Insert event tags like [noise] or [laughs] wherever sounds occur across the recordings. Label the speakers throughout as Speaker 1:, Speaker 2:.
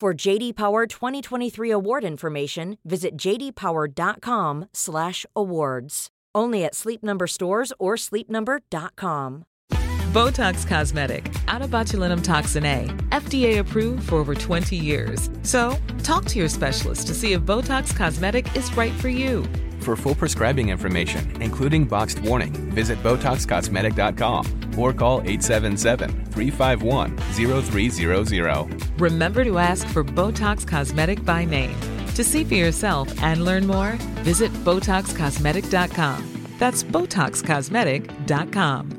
Speaker 1: For JD Power 2023 award information, visit jdpower.com/awards. Only at Sleep Number stores or sleepnumber.com.
Speaker 2: Botox Cosmetic, out of botulinum toxin A, FDA approved for over 20 years. So, talk to your specialist to see if Botox Cosmetic is right for you.
Speaker 3: For full prescribing information, including boxed warning, visit BotoxCosmetic.com or call 877-351-0300.
Speaker 2: Remember to ask for Botox Cosmetic by name. To see for yourself and learn more, visit BotoxCosmetic.com. That's BotoxCosmetic.com.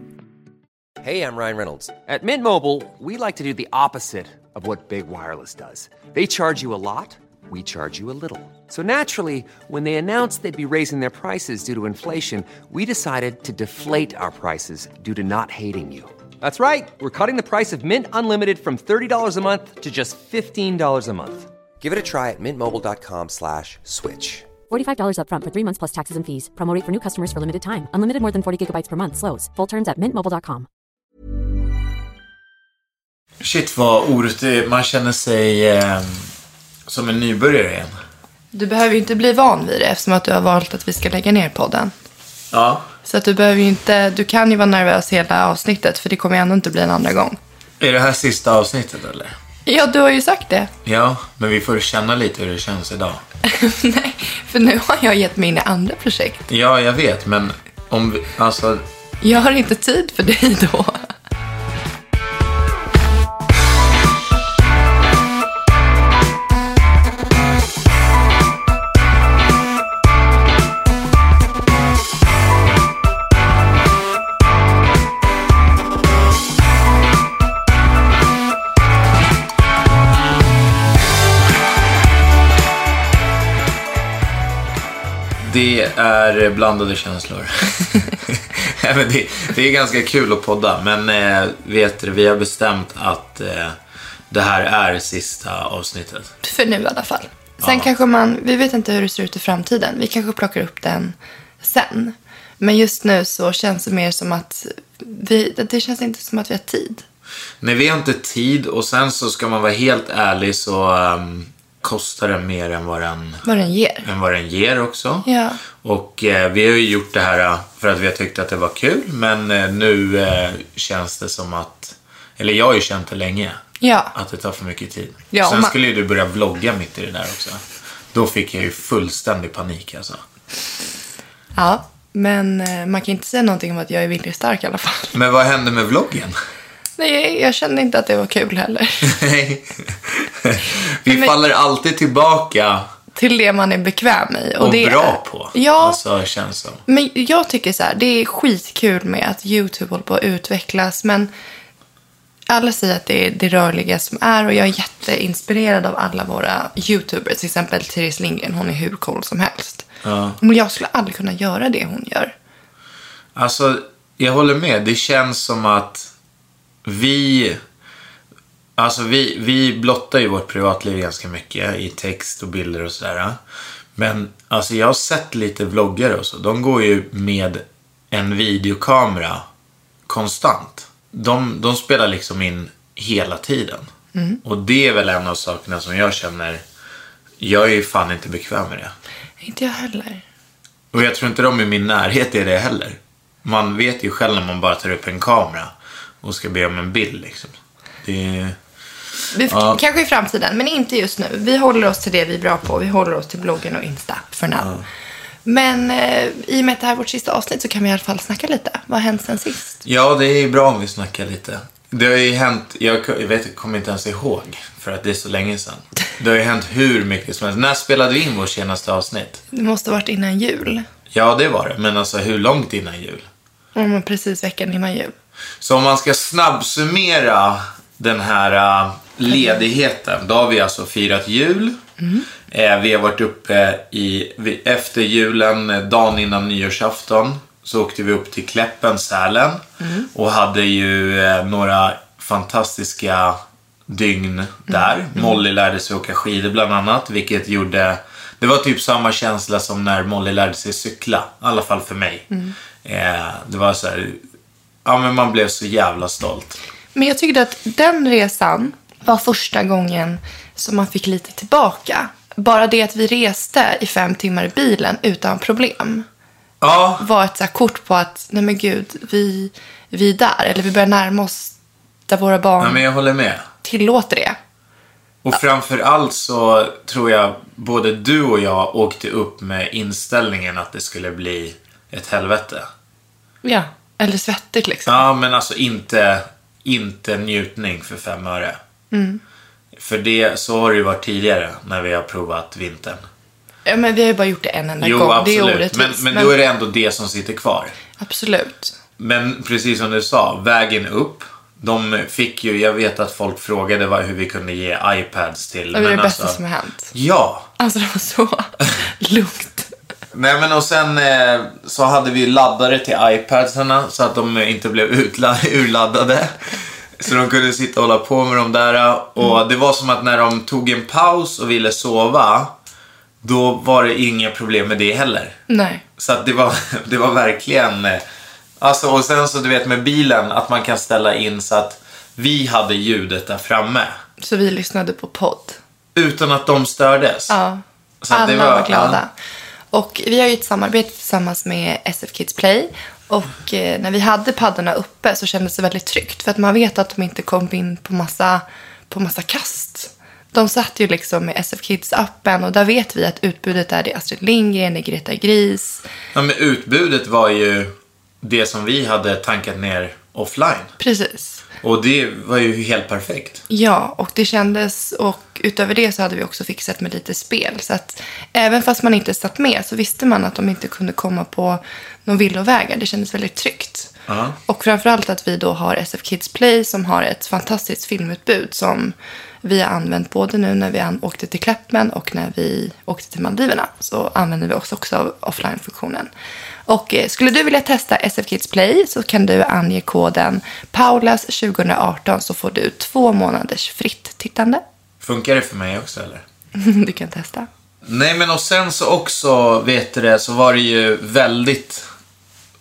Speaker 4: Hey, I'm Ryan Reynolds. At Mint Mobile, we like to do the opposite of what Big Wireless does. They charge you a lot, we charge you a little. So naturally, when they announced they'd be raising their prices due to inflation, we decided to deflate our prices due to not hating you. That's right. We're cutting the price of Mint Unlimited from $30 a month to just $15 a month. Give it a try at mintmobile.com slash switch.
Speaker 5: $45 upfront for three months plus taxes and fees. Promo rate for new customers for limited time. Unlimited more than 40 gigabytes per month. Slows. Full terms at mintmobile.com.
Speaker 6: Shit vad orut, man känner sig eh, som en nybörjare igen.
Speaker 7: Du behöver ju inte bli van vid det eftersom att du har valt att vi ska lägga ner podden.
Speaker 6: Ja.
Speaker 7: Så att du behöver ju inte, du kan ju vara nervös hela avsnittet för det kommer ju ändå inte bli en andra gång.
Speaker 6: Är det här sista avsnittet eller?
Speaker 7: Ja, du har ju sagt det. [laughs]
Speaker 6: Ja, men vi får känna lite hur det känns idag.
Speaker 7: Nej, för nu har jag gett mig in i andra projekt.
Speaker 6: Ja, jag vet, men om vi, alltså,
Speaker 7: Jag har inte tid för dig då. [laughs]
Speaker 6: det är blandade känslor. [laughs] Nej, men det, det är ganska kul att podda, men eh, vet du, vi har bestämt att eh, det här är sista avsnittet.
Speaker 7: För nu i alla fall. Sen kanske man, vi vet inte hur det ser ut i framtiden. Vi kanske plockar upp den sen. Men just nu så känns det mer som att vi, det känns inte som att vi har tid.
Speaker 6: Nej, vi har inte tid och sen så ska man vara helt ärlig så ehm, kostar den mer än vad den
Speaker 7: Vad den ger.
Speaker 6: än vad den ger också.
Speaker 7: Ja.
Speaker 6: Och eh, vi har ju gjort det här eh, för att vi har tyckt att det var kul, men eh, nu eh, känns det som att, eller jag har ju känt det länge,
Speaker 7: Ja.
Speaker 6: att det tar för mycket tid.
Speaker 7: Ja,
Speaker 6: Sen
Speaker 7: man-
Speaker 6: skulle ju du börja vlogga mitt i det där också. Då fick jag ju fullständig panik alltså.
Speaker 7: Ja, men eh, man kan inte säga någonting om att jag är viljestark i alla fall. [laughs]
Speaker 6: Men vad hände med vloggen? [laughs]
Speaker 7: Nej, jag kände inte att det var kul heller.
Speaker 6: Nej. vi
Speaker 7: men-
Speaker 6: faller alltid tillbaka
Speaker 7: Till det man är bekväm i.
Speaker 6: och,
Speaker 7: det
Speaker 6: bra på.
Speaker 7: Ja,
Speaker 6: Alltså, känns som.
Speaker 7: men jag tycker så här, det är skitkul med att YouTube håller på att utvecklas, men alla säger att det är det rörliga som är och jag är jätteinspirerad av alla våra YouTubers, till exempel Therese Lindgren, hon är hur cool som helst. Men jag skulle aldrig kunna göra det hon gör.
Speaker 6: Alltså, jag håller med. Det känns som att vi... Alltså, vi, vi blottar ju vårt privatliv ganska mycket i text och bilder och sådär. Men alltså, jag har sett lite vloggare och så. De går ju med en videokamera konstant. De, de spelar liksom in hela tiden. Och det är väl en av sakerna som jag känner... Jag är ju fan inte bekväm med det.
Speaker 7: Inte jag heller.
Speaker 6: Och jag tror inte de i min närhet är det heller. Man vet ju själv när man bara tar upp en kamera och ska be om en bild liksom. Det är...
Speaker 7: Vi, Kanske i framtiden, men inte just nu. Vi håller oss till det vi är bra på. Vi håller oss till bloggen och Insta för nu. Men eh, i och med att det här är vårt sista avsnitt så kan vi i alla fall snacka lite. Vad har hänt sen sist?
Speaker 6: Ja, det är bra om vi snackar lite. Det har ju hänt, jag, jag vet, jag kommer inte ens ihåg för att det är så länge sedan. Det har ju hänt hur mycket som helst. När spelade vi in vårt senaste avsnitt?
Speaker 7: Det måste ha varit innan jul.
Speaker 6: Ja, det var det, men alltså hur långt innan jul?
Speaker 7: Ja, men precis veckan innan jul.
Speaker 6: Så om man ska snabbsummera den här eh, ledigheten, då har vi alltså firat jul. Eh, vi har varit uppe i, vi, efter julen, eh, dagen innan nyårsafton, så åkte vi upp till Kläppen, Sälen. Och hade ju eh, några fantastiska dygn där. Molly lärde sig åka skidor bland annat, vilket gjorde det var typ samma känsla som när Molly lärde sig cykla. I alla fall för mig. Eh, det var så här, ja men man blev så jävla stolt.
Speaker 7: Men jag tyckte att den resan var första gången som man fick lite tillbaka. Bara det att vi reste i fem timmar i bilen utan problem
Speaker 6: Ja,
Speaker 7: var ett så här kort på att nej men gud, vi, vi är där. Eller vi börjar närma oss där våra barn
Speaker 6: ja men jag håller med.
Speaker 7: tillåter det.
Speaker 6: Och framför allt så tror jag både du och jag åkte upp med inställningen att det skulle bli ett helvete.
Speaker 7: Ja. Eller svettigt liksom.
Speaker 6: Ja, men alltså inte, inte njutning för fem öre.
Speaker 7: Mm.
Speaker 6: För det, så har det ju varit tidigare när vi har provat vintern.
Speaker 7: Ja, men vi har ju bara gjort det en enda
Speaker 6: Jo,
Speaker 7: gång. Det är
Speaker 6: absolut.
Speaker 7: orättvist.
Speaker 6: Men, men då är det ändå det som sitter kvar.
Speaker 7: Absolut.
Speaker 6: Men precis som du sa, vägen upp. De fick ju, jag vet att folk frågade vad, hur vi kunde ge iPads till.
Speaker 7: Det var
Speaker 6: men
Speaker 7: det bästa
Speaker 6: alltså-
Speaker 7: som har hänt.
Speaker 6: Ja,
Speaker 7: Alltså det
Speaker 6: [laughs]
Speaker 7: var så lugnt.
Speaker 6: Nej men och sen eh, så hade vi ju laddare till iPadsarna så att de inte blev utla- [laughs] urladdade. Så de kunde sitta och hålla på med de där. Och
Speaker 7: Mm.
Speaker 6: det var som att när de tog en paus och ville sova, då var det inga problem med det heller.
Speaker 7: Nej.
Speaker 6: Så att det var, [laughs] det var verkligen... eh, Alltså, och sen så du vet med bilen, att man kan ställa in så att vi hade ljudet där framme.
Speaker 7: Så vi lyssnade på podd.
Speaker 6: Utan att de stördes.
Speaker 7: Ja.
Speaker 6: Så att det
Speaker 7: Alla
Speaker 6: var-
Speaker 7: var, glada. Och vi har ju ett samarbete tillsammans med SF Kids Play. Och eh, när vi hade paddorna uppe så kändes det väldigt tryggt. För att man vet att de inte kom in på massa, på massa kast. De satt ju liksom med SF Kids-appen och där vet vi att utbudet är det är Astrid Lindgren, det är Greta Gris.
Speaker 6: Ja, men utbudet var ju det som vi hade tankat ner offline.
Speaker 7: Precis.
Speaker 6: Och det var ju helt perfekt.
Speaker 7: Ja, och det kändes och utöver det så hade vi också fixat med lite spel. Så att även fast man inte satt med så visste man att de inte kunde komma på någon villovägar. Det kändes väldigt tryggt. Och framförallt att vi då har SF Kids Play som har ett fantastiskt filmutbud som vi har använt både nu när vi an- åkte till Kläppen och när vi åkte till Maldiverna. Så använder vi också, också av offline-funktionen. Och eh, skulle du vilja testa SF Kids Play så kan du ange koden PAULAS2018 så får du två månaders fritt tittande. [laughs]
Speaker 6: Funkar det för mig också eller?
Speaker 7: Du kan testa.
Speaker 6: Nej men och sen så också, vet du det, så var det ju väldigt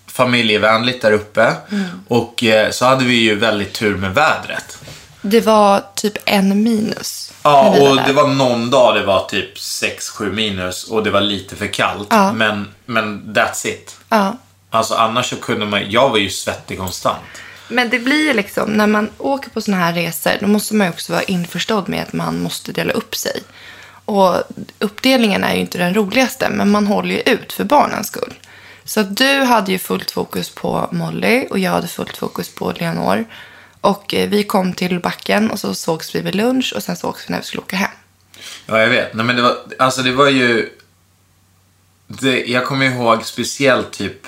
Speaker 6: familjevänligt där uppe.
Speaker 7: Mm.
Speaker 6: Och eh, så hade vi ju väldigt tur med vädret.
Speaker 7: Det var typ en minus.
Speaker 6: Ja,
Speaker 7: när vi
Speaker 6: och
Speaker 7: där.
Speaker 6: det var någon dag det var typ 6-7 minus och det var lite för kallt. Men, men that's it.
Speaker 7: Ja.
Speaker 6: Alltså annars så kunde man, jag var ju svettig konstant.
Speaker 7: Men det blir ju liksom, när man åker på såna här resor, då måste man ju också vara införstådd med att man måste dela upp sig. Och uppdelningen är ju inte den roligaste, men man håller ju ut för barnens skull. Så att du hade ju fullt fokus på Molly och jag hade fullt fokus på Leonor. Och eh, vi kom till backen och så sågs vi vid lunch och sen sågs vi när vi skulle åka hem.
Speaker 6: Ja, jag vet. Nej, men det var, alltså det var ju... Det, jag kommer ihåg speciellt typ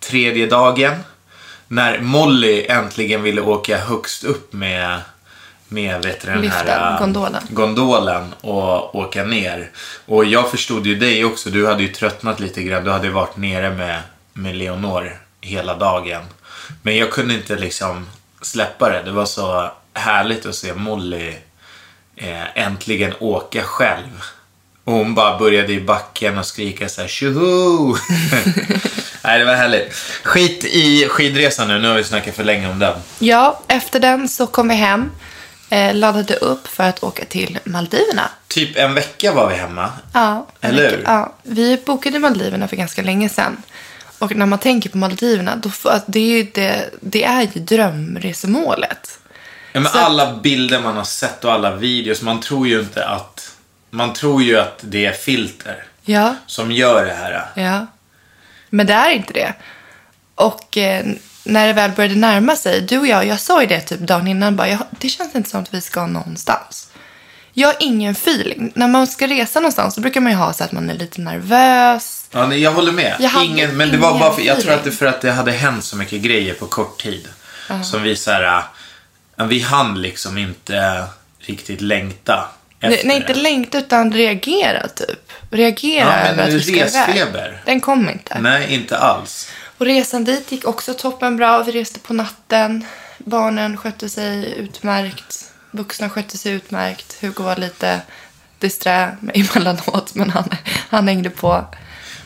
Speaker 6: tredje dagen när Molly äntligen ville åka högst upp med, med vet du, den här
Speaker 7: Liften,
Speaker 6: eh,
Speaker 7: gondolen.
Speaker 6: gondolen och åka ner. Och jag förstod ju dig också. Du hade ju tröttnat lite grann. Du hade varit nere med, med Leonor hela dagen. Men jag kunde inte liksom släppa det. Det var så härligt att se Molly eh, äntligen åka själv. Och hon bara började i backen och skrika så här tjoho! [laughs] Nej, det var härligt. Skit i skidresan nu, nu har vi snackat för länge om den.
Speaker 7: Ja, efter den så kom vi hem, eh, laddade upp för att åka till Maldiverna.
Speaker 6: Typ en vecka var vi hemma.
Speaker 7: Ja,
Speaker 6: Eller
Speaker 7: mycket-
Speaker 6: hur?
Speaker 7: Ja. Vi bokade Maldiverna för ganska länge sedan. Och när man tänker på Maldiverna, då, får- att det, är ju det, det är ju drömresemålet.
Speaker 6: Ja, men
Speaker 7: Så-
Speaker 6: alla bilder man har sett och alla videos, man tror ju inte att... Man tror ju att det är filter
Speaker 7: Ja,
Speaker 6: som gör det här.
Speaker 7: ja. Men det är inte det. Och eh, när det väl började närma sig, du och jag, jag sa ju det typ dagen innan, bara, jag, det känns inte som att vi ska någonstans. Jag har ingen feeling. När man ska resa någonstans så brukar man ju ha så att man är lite nervös.
Speaker 6: Ja, nej, jag håller med.
Speaker 7: Jag hade
Speaker 6: ingen, men det var
Speaker 7: ingen
Speaker 6: bara för, jag tror
Speaker 7: feeling.
Speaker 6: att det är för att det hade hänt så mycket grejer på kort tid. Som vi så här, äh, vi hann liksom inte riktigt längta
Speaker 7: Nej,
Speaker 6: efter
Speaker 7: nej, inte
Speaker 6: det.
Speaker 7: längt utan reagera typ. Reagera
Speaker 6: Ja, men
Speaker 7: över att vi ska
Speaker 6: resfeber.
Speaker 7: iväg. Den kom inte.
Speaker 6: Nej, inte alls.
Speaker 7: Och resan dit gick också toppen bra. Vi reste på natten. Barnen skötte sig utmärkt. Vuxna skötte sig utmärkt. Hugo var lite disträ [laughs] emellanåt, men han, han hängde på.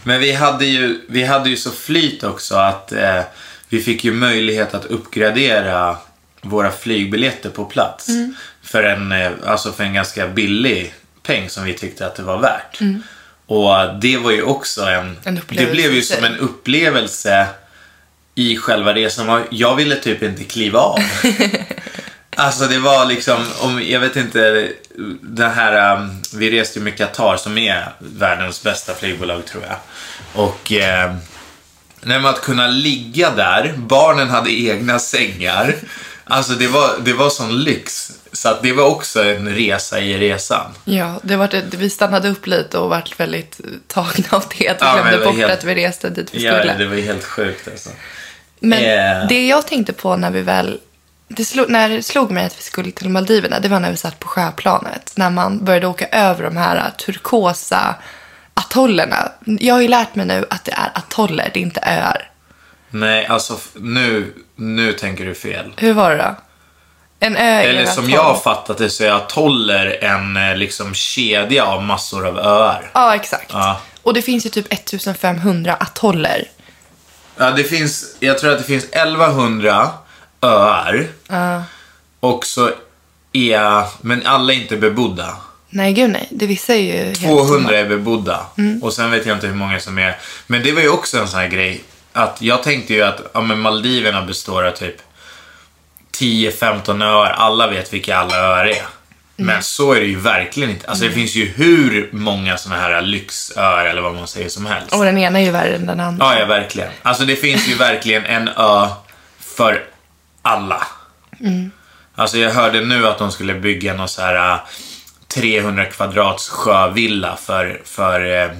Speaker 6: Men vi hade ju, vi hade ju så flyt också att eh, vi fick ju möjlighet att uppgradera våra flygbiljetter på plats.
Speaker 7: Mm.
Speaker 6: För, en, eh, alltså för en ganska billig peng som vi tyckte att det var värt. Och det var ju också en...
Speaker 7: Mm. En
Speaker 6: det
Speaker 7: upplevelse
Speaker 6: blev ju
Speaker 7: i sig.
Speaker 6: som en upplevelse i själva resan. Jag ville typ inte kliva av. Alltså det var liksom, om, jag vet inte, den här, um, vi reste ju med Qatar som är världens bästa flygbolag tror jag. Och eh, nej, men att kunna ligga där, barnen hade egna sängar. Alltså det var, det var sån lyx. Så att det var också en resa i resan.
Speaker 7: Ja, det var det, vi stannade upp lite och vart väldigt tagna av det. Och
Speaker 6: Ja, men det
Speaker 7: glömde
Speaker 6: var
Speaker 7: bort
Speaker 6: helt-
Speaker 7: att vi reste dit vi
Speaker 6: Ja,
Speaker 7: skulle.
Speaker 6: det var ju helt sjukt alltså.
Speaker 7: Men
Speaker 6: Eh.
Speaker 7: det jag tänkte på när vi väl... Det slog, när det slog mig att vi skulle till Maldiverna, det var när vi satt på sjöplanet. När man började åka över de här ä, turkosa atollerna. Jag har ju lärt mig nu att det är atoller, det är inte öar.
Speaker 6: Nej, alltså f- nu, nu tänker du fel.
Speaker 7: Hur var det då? En ö är
Speaker 6: Eller
Speaker 7: en
Speaker 6: som
Speaker 7: atoll.
Speaker 6: jag har fattat det så är atoller en eh, liksom kedja av massor av öar.
Speaker 7: Ja, exakt.
Speaker 6: Ja.
Speaker 7: Och det finns ju typ 1500 atoller.
Speaker 6: Ja, det finns, jag tror att det finns 1100 öar. Och så är, men alla är inte bebodda.
Speaker 7: Nej, gud nej. Det vissa är ju helt tomma.
Speaker 6: 200 är bebodda. Och sen vet jag inte hur många som är. Men det var ju också en sån här grej. Att jag tänkte ju att ja, men Maldiverna består av typ 10-15 öar. Alla vet vilka alla öar är. Men så är det ju verkligen inte. Alltså det finns ju hur många såna här lyxöar eller vad man säger som helst.
Speaker 7: Och den ena är ju värre än den andra.
Speaker 6: Ja, ja, verkligen. Alltså det finns ju verkligen en ö för alla. Alltså jag hörde nu att de skulle bygga någon så här äh, 300 kvadrats sjövilla för, för, eh,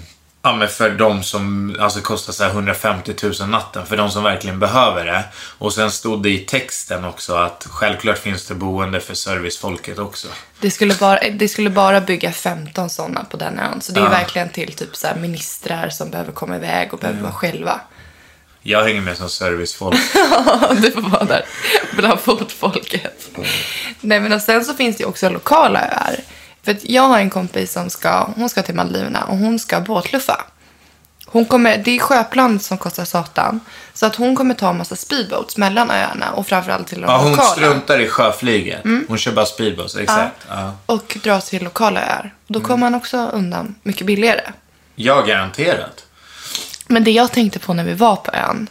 Speaker 6: ja, men för de som, alltså kostar så här 150 000 natten, för de som verkligen behöver det. Och sen stod det i texten också att självklart finns det boende för servicefolket också.
Speaker 7: Det skulle, bara, det skulle bara bygga 15 sådana på den ön. Så det är ju verkligen till typ så här ministrar som behöver komma iväg och behöver
Speaker 6: [laughs]
Speaker 7: vara själva.
Speaker 6: Jag hänger med som servicefolk.
Speaker 7: du får vara där bland fotfolket. Nej men och sen så finns det ju också lokala öar. För att jag har en kompis som ska, hon ska till Maldiverna och hon ska båtluffa. Hon kommer, det är sjöplan som kostar satan. Så att hon kommer ta en massa speedboats mellan öarna och framförallt till de
Speaker 6: Ja, hon
Speaker 7: lokala.
Speaker 6: struntar i sjöflyget. Hon kör bara speedboats, exakt. Ja.
Speaker 7: Och dra till lokala öar. Då
Speaker 6: Mm.
Speaker 7: kommer man också undan mycket billigare.
Speaker 6: Ja, garanterat.
Speaker 7: Men det jag tänkte på när vi var på ön.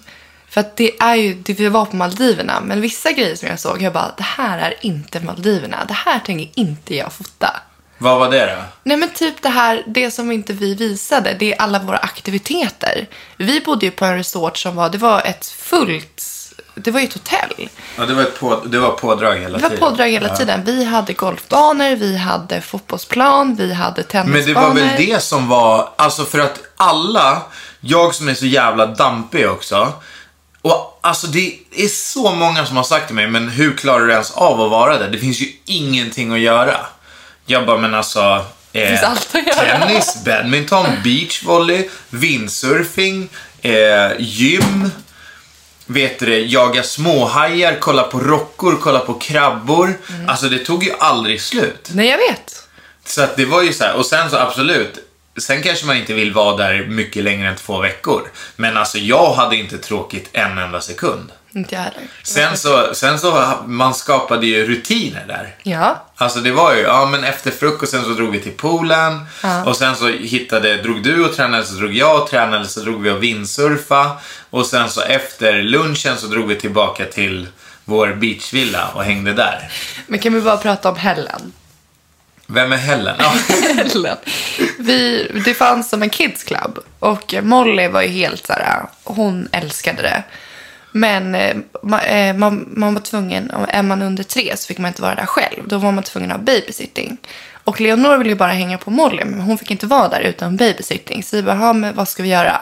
Speaker 7: För att det är ju, det vi var på Maldiverna, men vissa grejer som jag såg, jag bara, det här är inte Maldiverna. Det här tänker inte jag fota.
Speaker 6: Vad var det då?
Speaker 7: Nej men typ det här, det som inte vi visade, det är alla våra aktiviteter. Vi bodde ju på en resort som var, det var ett fullt, det var ju ett hotell.
Speaker 6: Ja, det, var ett på, det var pådrag hela
Speaker 7: Det var
Speaker 6: tiden.
Speaker 7: pådrag hela tiden. Vi hade golfbanor, vi hade fotbollsplan, vi hade tennisbanor.
Speaker 6: Men det var väl det som var, alltså för att alla, jag som är så jävla dampig också, och alltså det är så många som har sagt till mig, men hur klarar du ens av att vara där? Det finns ju ingenting att göra. Jag bara, men alltså... Eh,
Speaker 7: finns allt att göra.
Speaker 6: Tennis, badminton, beachvolley, windsurfing, eh, gym. vet du det, jaga småhajar, kolla på rockor, kolla på krabbor.
Speaker 7: Mm.
Speaker 6: Alltså det tog ju aldrig slut.
Speaker 7: Nej jag vet.
Speaker 6: Så att det var ju så här, och sen så absolut, sen kanske man inte vill vara där mycket längre än två veckor. Men alltså jag hade inte tråkigt en enda sekund.
Speaker 7: Inte jag heller.
Speaker 6: Sen så, sen så man skapade ju rutiner där.
Speaker 7: Ja.
Speaker 6: Alltså det var ju, ja men efter frukosten så drog vi till poolen och sen så hittade, drog du och tränade så drog jag och tränade så drog vi och vindsurfa och sen så efter lunchen så drog vi tillbaka till vår beachvilla och hängde där.
Speaker 7: Men kan vi bara prata om Helen?
Speaker 6: Vem är Helen? Ja.
Speaker 7: Ellen. Vi, det fanns som en kids club och Molly var ju helt så här, hon älskade det. Men eh, ma- eh, man, man var tvungen, om- är man under tre så fick man inte vara där själv. Då var man tvungen att ha babysitting. Och Leonor ville ju bara hänga på Molly, men hon fick inte vara där utan babysitting. Så vi bara, "Ja, men vad ska vi göra?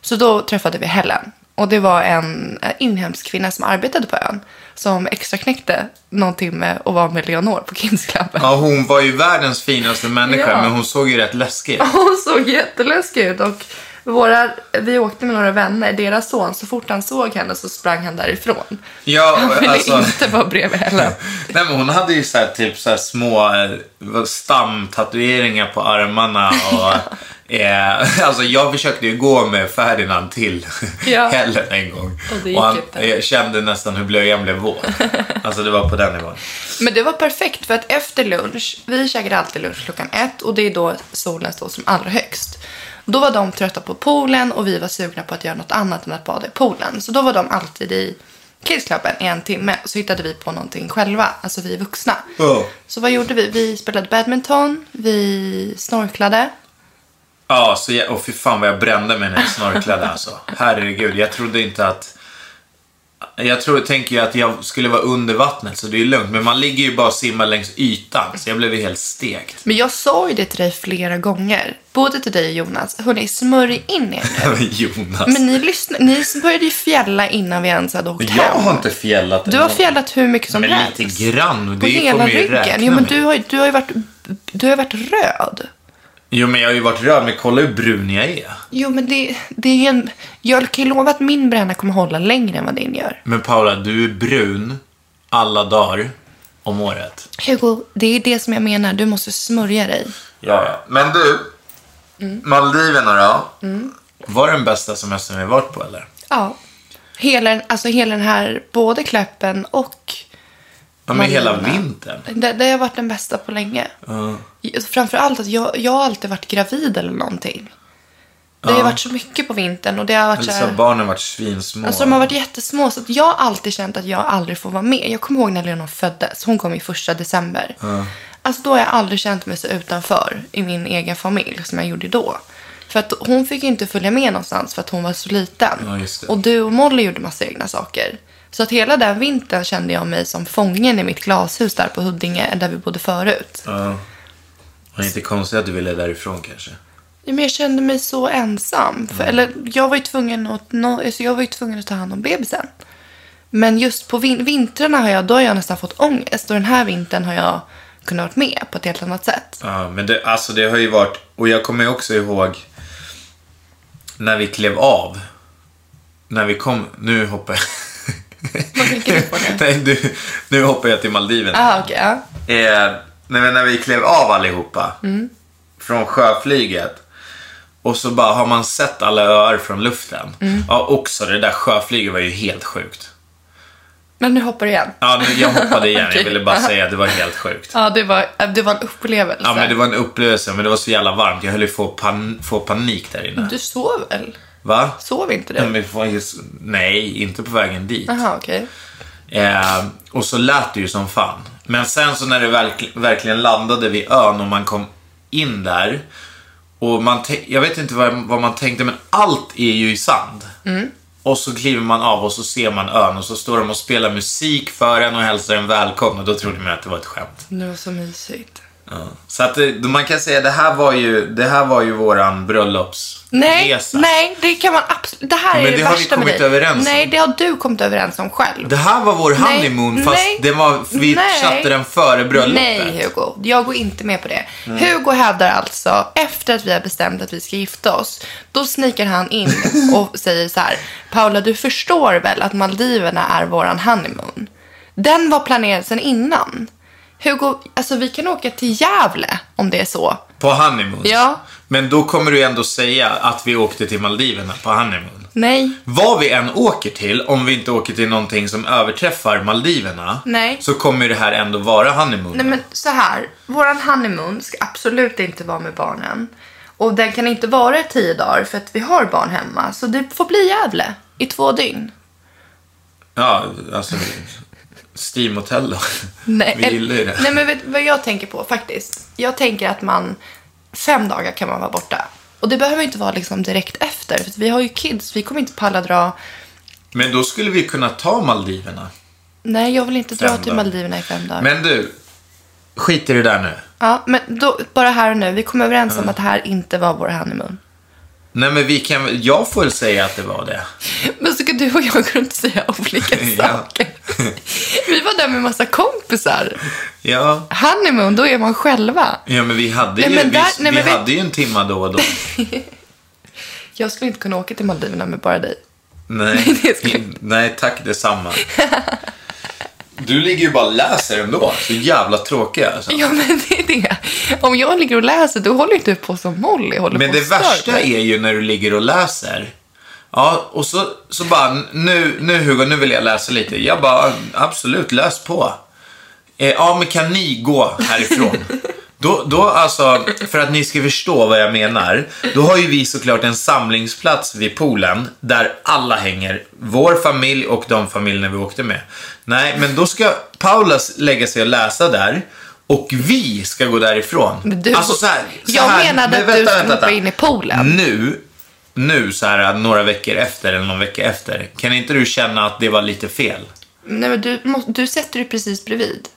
Speaker 7: Så då träffade vi Helen. Och Och det var en eh, inhemsk kvinna som arbetade på ön. Som extra knäckte någon timme och var med Leonor på Kids Club.
Speaker 6: Ja, hon var ju världens finaste människa,
Speaker 7: Ja.
Speaker 6: men hon såg ju rätt läskig ut.
Speaker 7: Hon såg jätteläskig ut och våra, vi åkte med några vänner. Deras son, så fort han såg henne så sprang han därifrån. [laughs]
Speaker 6: Ja,
Speaker 7: Han ville
Speaker 6: alltså...
Speaker 7: inte vara bredvid heller.
Speaker 6: Nej, men hon hade ju så här, typ så här små eh, stamtatueringar på armarna och...
Speaker 7: [laughs]
Speaker 6: Eh, alltså jag försökte ju gå med Ferdinand till
Speaker 7: Ja.
Speaker 6: hällen en gång.
Speaker 7: Och det gick
Speaker 6: han
Speaker 7: inte.
Speaker 6: eh, kände nästan hur blöjan blev
Speaker 7: [laughs]
Speaker 6: våt. Alltså det var på den nivån.
Speaker 7: Men det var perfekt för att efter lunch, vi käkade alltid lunch klockan ett och det är då solen står som allra högst. Då var de trötta på poolen och vi var sugna på att göra något annat än att bada i poolen. Så då var de alltid i Kidsklubben i en timme och så hittade vi på någonting själva, alltså vi vuxna.
Speaker 6: Ja.
Speaker 7: Så vad gjorde vi? Vi spelade badminton, vi snorklade.
Speaker 6: Ja, så jag, och fy fan vad jag brände mig när jag snorklade alltså. Herregud, jag trodde inte att... Jag tror, tänker ju att jag skulle vara under vattnet så det är ju lugnt. Men man ligger ju bara och simmar längs ytan så jag blev ju helt stekt. [laughs]
Speaker 7: Men jag sa ju det till dig flera gånger, både till dig och Jonas. Hörni, smörj in er nu.
Speaker 6: Jonas.
Speaker 7: Men ni, lyssna, ni började ju fjälla innan vi ens hade åkt
Speaker 6: jag
Speaker 7: hem.
Speaker 6: har inte fjällat.
Speaker 7: Du har
Speaker 6: någon-
Speaker 7: fjällat hur mycket som
Speaker 6: Men
Speaker 7: helst.
Speaker 6: lite grann.
Speaker 7: På
Speaker 6: Det
Speaker 7: hela
Speaker 6: kommer ju
Speaker 7: ryggen.
Speaker 6: räkna
Speaker 7: Jo, men
Speaker 6: med.
Speaker 7: du har, ju- du har ju varit, du har ju varit röd.
Speaker 6: Jo, men jag har ju varit röd, men kolla hur brun jag är.
Speaker 7: Jo, men det, det är ju en... Jag kan ju lova att min bränna kommer hålla längre än vad din gör.
Speaker 6: Men Paula, du är brun alla dagar om året.
Speaker 7: Hugo, det är det som jag menar. Du måste smörja dig.
Speaker 6: Ja, ja. Men du, Maldiverna då? Var det den bästa semestern vi varit på eller?
Speaker 7: Ja. Hela, den- alltså hela den här, både Kläppen och...
Speaker 6: Ja, men
Speaker 7: Maldiverna.
Speaker 6: hela vintern.
Speaker 7: Det, det har varit den bästa på länge. Framförallt att jag, jag har alltid varit gravid eller någonting. Det har ju varit så mycket på vintern och det har varit
Speaker 6: Eller
Speaker 7: så
Speaker 6: så har
Speaker 7: här...
Speaker 6: barnen varit svinsmå.
Speaker 7: Alltså de har varit jättesmå så att jag har alltid känt att jag aldrig får vara med. Jag kommer ihåg när Leonor föddes. Hon kom i första december. Alltså då har jag aldrig känt mig så utanför i min egen familj som jag gjorde då. För att hon fick ju inte följa med någonstans för att hon var så liten.
Speaker 6: Ja, just det.
Speaker 7: Och du och Molly gjorde massa egna saker. Så att hela den vintern kände jag mig som fången i mitt glashus där på Huddinge där vi bodde förut.
Speaker 6: Ja. Och inte konstigt att du ville därifrån kanske.
Speaker 7: Ja, Men jag kände mig så ensam.
Speaker 6: Mm.
Speaker 7: För, eller, jag, var ju tvungen att, nå- alltså, jag var ju tvungen att ta hand om bebisen. Men just på vin- vintrarna har jag, då har jag nästan fått ångest. Och den här vintern har jag kunnat vara med på ett helt annat sätt.
Speaker 6: Ja, men det, alltså det har ju varit... Och jag kommer ju också ihåg när vi klev av. När vi kom... Nu hoppar jag...
Speaker 7: Vad tänker du på nu?
Speaker 6: [laughs] Nej, du, nu hoppar jag till Maldiverna.
Speaker 7: Ah, okej. ja.
Speaker 6: Eh, nej, men när vi klev av allihopa
Speaker 7: Mm.
Speaker 6: från sjöflyget och så bara har man sett alla öar från luften.
Speaker 7: Mm.
Speaker 6: Ja, också det där sjöflyget var ju helt sjukt.
Speaker 7: Men nu hoppar du igen.
Speaker 6: Ja, nu, jag hoppade igen.
Speaker 7: [laughs] Okej.
Speaker 6: Jag ville bara säga att det var helt sjukt.
Speaker 7: Ja, det var, eh, det var en upplevelse.
Speaker 6: Ja, men det var en upplevelse, men det var så jävla varmt. Jag höll ju på att pan- få panik där inne.
Speaker 7: Du sov väl?
Speaker 6: Va?
Speaker 7: Sov inte
Speaker 6: Ja,
Speaker 7: du?
Speaker 6: men vad är- Nej, inte på vägen dit.
Speaker 7: Jaha, okej.
Speaker 6: Eh, och så lät det ju som fan. Men sen så när det verk- verkligen landade vid ön och man kom in där. Och man te- jag vet inte vad, vad man tänkte, men allt är ju i sand.
Speaker 7: Mm.
Speaker 6: Och så kliver man av och så ser man ön och så står de och spelar musik för en och hälsar en välkommen. Och då trodde man att det var ett skämt.
Speaker 7: Det var så mysigt.
Speaker 6: Ja. Så att det, man kan säga, det här var ju, det här var ju våran bröllopsresa.
Speaker 7: Nej, nej, det kan man absolut... Det här är
Speaker 6: Men
Speaker 7: det,
Speaker 6: det har vi
Speaker 7: värsta med
Speaker 6: kommit
Speaker 7: dig.
Speaker 6: överens om.
Speaker 7: Nej, det har du kommit överens om själv.
Speaker 6: Det här var vår
Speaker 7: Nej,
Speaker 6: honeymoon fast
Speaker 7: nej,
Speaker 6: det var, vi
Speaker 7: nej.
Speaker 6: satte den före bröllopet.
Speaker 7: Nej, Hugo. Jag går inte med på det. Hugo hävdar alltså, efter att vi har bestämt att vi ska gifta oss, då sniker
Speaker 6: [laughs]
Speaker 7: han in och säger så här. Paula, du förstår väl att Maldiverna är våran honeymoon? Den var planerad sedan innan. Hugo, alltså vi kan åka till Gävle om det är så.
Speaker 6: På honeymoon?
Speaker 7: Ja.
Speaker 6: Men då kommer du ändå säga att vi åkte till Maldiverna på honeymoon.
Speaker 7: Nej.
Speaker 6: Vad vi än åker till, om vi inte åker till någonting som överträffar Maldiverna,
Speaker 7: Nej.
Speaker 6: så kommer det här ändå vara honeymoon.
Speaker 7: Nej men så här, våran honeymoon ska absolut inte vara med barnen. Och den kan inte vara i tio dagar för att vi har barn hemma. Så det får bli Gävle i två dygn.
Speaker 6: Ja, alltså... Steam Hotel då.
Speaker 7: Nej, eh,
Speaker 6: vi gillar ju det.
Speaker 7: Nej, men vet du vad jag tänker på faktiskt? Jag tänker att man, fem dagar kan man vara borta. Och det behöver inte vara liksom direkt efter. För att vi har ju kids, vi kommer inte palla dra.
Speaker 6: Men då skulle vi kunna ta Maldiverna.
Speaker 7: Nej, jag vill inte dra
Speaker 6: Fem
Speaker 7: till
Speaker 6: dagar.
Speaker 7: Maldiverna i fem dagar.
Speaker 6: Men du, skit i det där nu.
Speaker 7: Ja, men då, bara här och nu, vi kom överens om att det här inte var vår honeymoon.
Speaker 6: Nej men vi kan Jag får väl säga att det var det.
Speaker 7: Men så kan du och jag går runt och säger
Speaker 6: [laughs]
Speaker 7: olika
Speaker 6: Ja.
Speaker 7: saker. Vi var där med massa kompisar.
Speaker 6: Ja.
Speaker 7: Honeymoon, då är man själva.
Speaker 6: Ja, men vi hade
Speaker 7: Nej,
Speaker 6: ju,
Speaker 7: men där-
Speaker 6: vi,
Speaker 7: nej, men
Speaker 6: vi
Speaker 7: vi-
Speaker 6: hade ju en timma då och då.
Speaker 7: Jag skulle inte kunna åka till Maldiverna med bara dig.
Speaker 6: Nej,
Speaker 7: [laughs] det ska jag
Speaker 6: in- nej tack detsamma. Du ligger ju bara och läser ändå. Så jävla tråkiga alltså.
Speaker 7: Ja, men det är det. Om jag ligger och läser, då håller inte du på som Molly håller
Speaker 6: Men
Speaker 7: på
Speaker 6: det
Speaker 7: och stör
Speaker 6: värsta
Speaker 7: mig.
Speaker 6: är ju när du ligger och läser. Ja, och så, så bara, nu, nu Hugo, nu vill jag läsa lite. Jag bara, absolut, läs på. Eh, ja, men kan ni gå härifrån?
Speaker 7: [laughs]
Speaker 6: Då, då alltså, för att ni ska förstå vad jag menar, då har ju vi såklart en samlingsplats vid poolen där alla hänger. Vår familj och de familjerna vi åkte med. Nej, men då ska Paulas lägga sig och läsa där och vi ska gå därifrån.
Speaker 7: Men du-
Speaker 6: alltså så här, så
Speaker 7: Jag
Speaker 6: här,
Speaker 7: menade
Speaker 6: men
Speaker 7: att du skulle hoppa in i poolen.
Speaker 6: Nu, nu så här några veckor efter eller någon vecka efter, kan inte du känna att det var lite fel?
Speaker 7: Nej, men du, må- du sätter dig precis bredvid.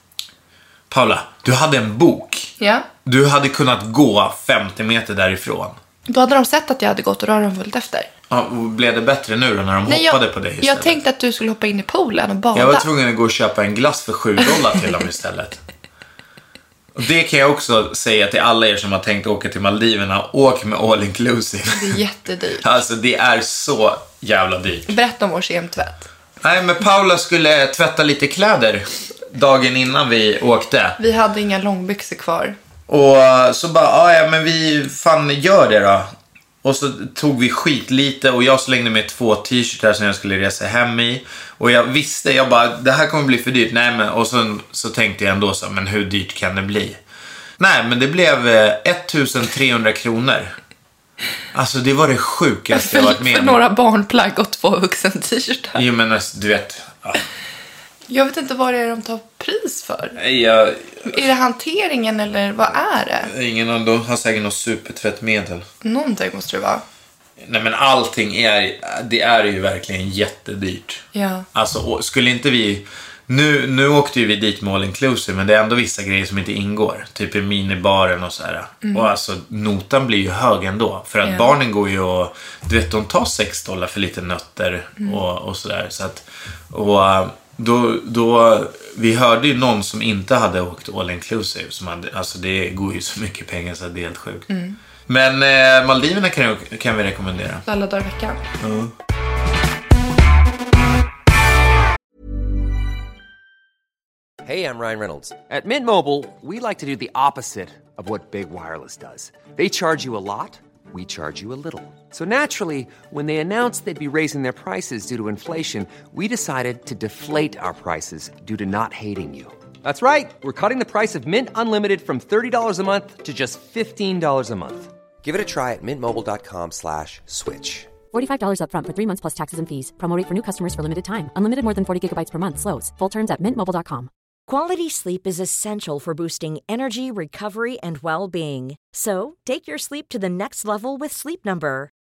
Speaker 6: Paula, du hade en bok.
Speaker 7: Ja.
Speaker 6: Du hade kunnat gå 50 meter därifrån.
Speaker 7: Då hade de sett att jag hade gått och då hade de följt efter.
Speaker 6: Ja, och blev det bättre nu då när de
Speaker 7: jag,
Speaker 6: hoppade på dig istället?
Speaker 7: jag tänkte att du skulle hoppa in i poolen och bada.
Speaker 6: jag var tvungen att gå och köpa en glass för 7 dollar till dem istället. Och det kan jag också säga till alla er som har tänkt åka till Maldiverna. Åk med all
Speaker 7: [laughs]
Speaker 6: inclusive.
Speaker 7: Det är jättedyrt.
Speaker 6: Alltså det är så jävla dyrt.
Speaker 7: Berätta om vår kemtvätt.
Speaker 6: Nej, men Paula skulle tvätta lite kläder dagen innan vi åkte.
Speaker 7: Vi hade inga långbyxor kvar.
Speaker 6: Och så bara, "Ah, ja men vi fan gör det då. Och så tog vi skit lite och jag slängde med två t-shirtar som jag skulle resa hem i. Och jag visste, jag bara, det här kommer bli för dyrt. Nej men, och så, så tänkte jag ändå så, men hur dyrt kan det bli? Nej men det blev eh, 1300 kronor. Alltså det var det sjukaste jag
Speaker 7: För, [laughs]
Speaker 6: varit med
Speaker 7: för
Speaker 6: om.
Speaker 7: några barnplagg och två vuxen-t-shirtar.
Speaker 6: Jo men alltså, du vet. Ja,
Speaker 7: Jag vet inte vad det är de tar pris för.
Speaker 6: Nej, jag,
Speaker 7: Är det hanteringen eller vad är det?
Speaker 6: ingen av dem har säkert något supertvättmedel.
Speaker 7: Någonting måste det vara.
Speaker 6: Nej men allting är, det är ju verkligen jättedyrt.
Speaker 7: Ja.
Speaker 6: Alltså, och skulle inte vi... Nu, nu åkte ju vi dit med all inclusive, men det är ändå vissa grejer som inte ingår. Typ i minibaren och så här. Och alltså, notan blir ju hög ändå. För att
Speaker 7: Ja.
Speaker 6: barnen går ju och... Du vet, de tar 6 dollar för lite nötter och, och sådär. Så att, och äh, då, då... Vi hörde ju någon som inte hade åkt all inclusive. Som hade, alltså, det går ju så mycket pengar så att det är helt sjukt. Men eh, Maldiverna kan, jag- kan vi rekommendera.
Speaker 7: Alla dagar i veckan.
Speaker 4: Hey, I'm Ryan Reynolds. At Mint Mobile, we like to do the opposite of what Big Wireless does. They charge you a lot, we charge you a little. So naturally, when they announced they'd be raising their prices due to inflation, we decided to deflate our prices due to not hating you. That's right. We're cutting the price of Mint Unlimited from $30 a month to just $15 a month. Give it a try at mintmobile.com slash switch.
Speaker 5: $45 upfront for three months plus taxes and fees. Promo rate for new customers for limited time. Unlimited more than 40 gigabytes per month. Slows. Full terms at mintmobile.com.
Speaker 1: Quality sleep is essential for boosting energy, recovery, and well being. So, take your sleep to the next level with Sleep Number.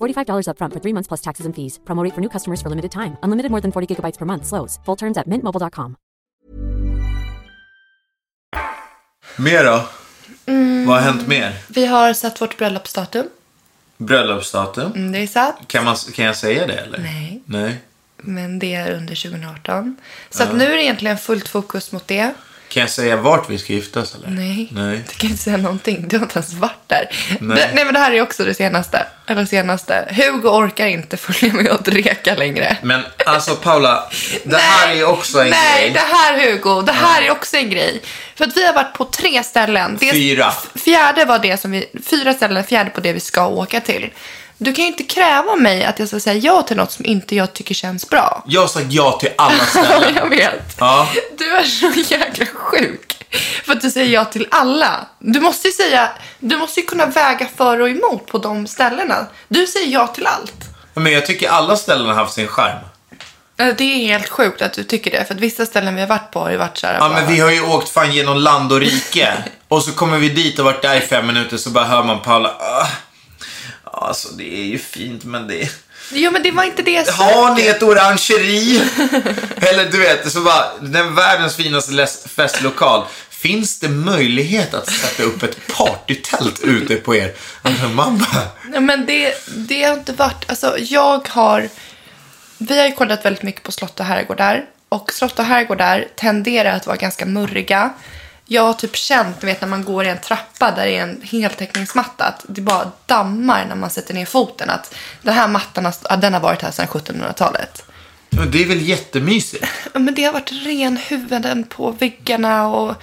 Speaker 5: $45 upfront for three months plus taxes and fees. Promo rate for new customers for limited time. Unlimited more than 40 gigabytes per month. Slows. Full terms at mintmobile.com.
Speaker 6: Mer då? Vad har hänt mer?
Speaker 7: Vi har satt vårt bröllopsdatum.
Speaker 6: Bröllopsdatum?
Speaker 7: Mm, det är satt.
Speaker 6: Kan, man, kan jag säga det eller?
Speaker 7: Nej.
Speaker 6: Nej.
Speaker 7: Men det är under 2018. Så att nu är det egentligen fullt fokus mot det.
Speaker 6: Kan jag säga vart vi ska giftas eller?
Speaker 7: Nej.
Speaker 6: Nej.
Speaker 7: Du kan inte säga någonting. Du har inte ens varit där.
Speaker 6: Nej.
Speaker 7: Det, nej men det här är också det senaste. eller senaste. Hugo orkar inte följa med och dreka längre.
Speaker 6: Men alltså Paula, det här är ju också en
Speaker 7: Nej,
Speaker 6: grej.
Speaker 7: det här Hugo, det här är också en grej. För att vi har varit på tre ställen. Det-
Speaker 6: Fyra.
Speaker 7: f- Fjärde var det som vi, fyra ställen, fjärde på det vi ska åka till. Du kan ju inte kräva av mig att jag ska säga ja till något som inte jag tycker känns bra.
Speaker 6: Jag har sagt ja till alla
Speaker 7: [laughs]
Speaker 6: ställen.
Speaker 7: jag vet.
Speaker 6: Ja.
Speaker 7: Du är så jäkla sjuk. För att du säger ja till alla. Du måste ju säga, du måste ju kunna väga för och emot på de ställena. Du säger ja till allt.
Speaker 6: Men jag tycker alla ställen har haft sin skärm.
Speaker 7: Nej, Alltså, Det är helt sjukt att du tycker det. För att vissa ställen vi har varit på har ju varit så här.
Speaker 6: Ja
Speaker 7: bara-
Speaker 6: men vi har ju åkt fan genom land och
Speaker 7: [laughs]
Speaker 6: rike. Och så kommer vi dit och varit där i fem minuter så bara hör man Paula. "Ah, Alltså det är ju fint men det...
Speaker 7: Jo, men det var inte det jag
Speaker 6: Har ni
Speaker 7: sökte.
Speaker 6: ett orangeri? [laughs] Eller du vet, så bara, den världens finaste les- festlokal. Finns det möjlighet att sätta upp ett partytält ute på er? Alltså, mamma.
Speaker 7: Nej, men det, det har inte varit... Alltså, jag har... Vi har ju kollat väldigt mycket på slott och herrgårdar. Och slott och herrgårdar tenderar att vara ganska murriga. Jag har typ känt, du vet när man går i en trappa där det är en heltäckningsmatta, att det bara dammar när man sätter ner foten. Att den här mattan har, ja, den har varit här sedan 1700-talet.
Speaker 6: Men Det är väl jättemysigt?
Speaker 7: Ja, Men det har varit renhuvuden på väggarna och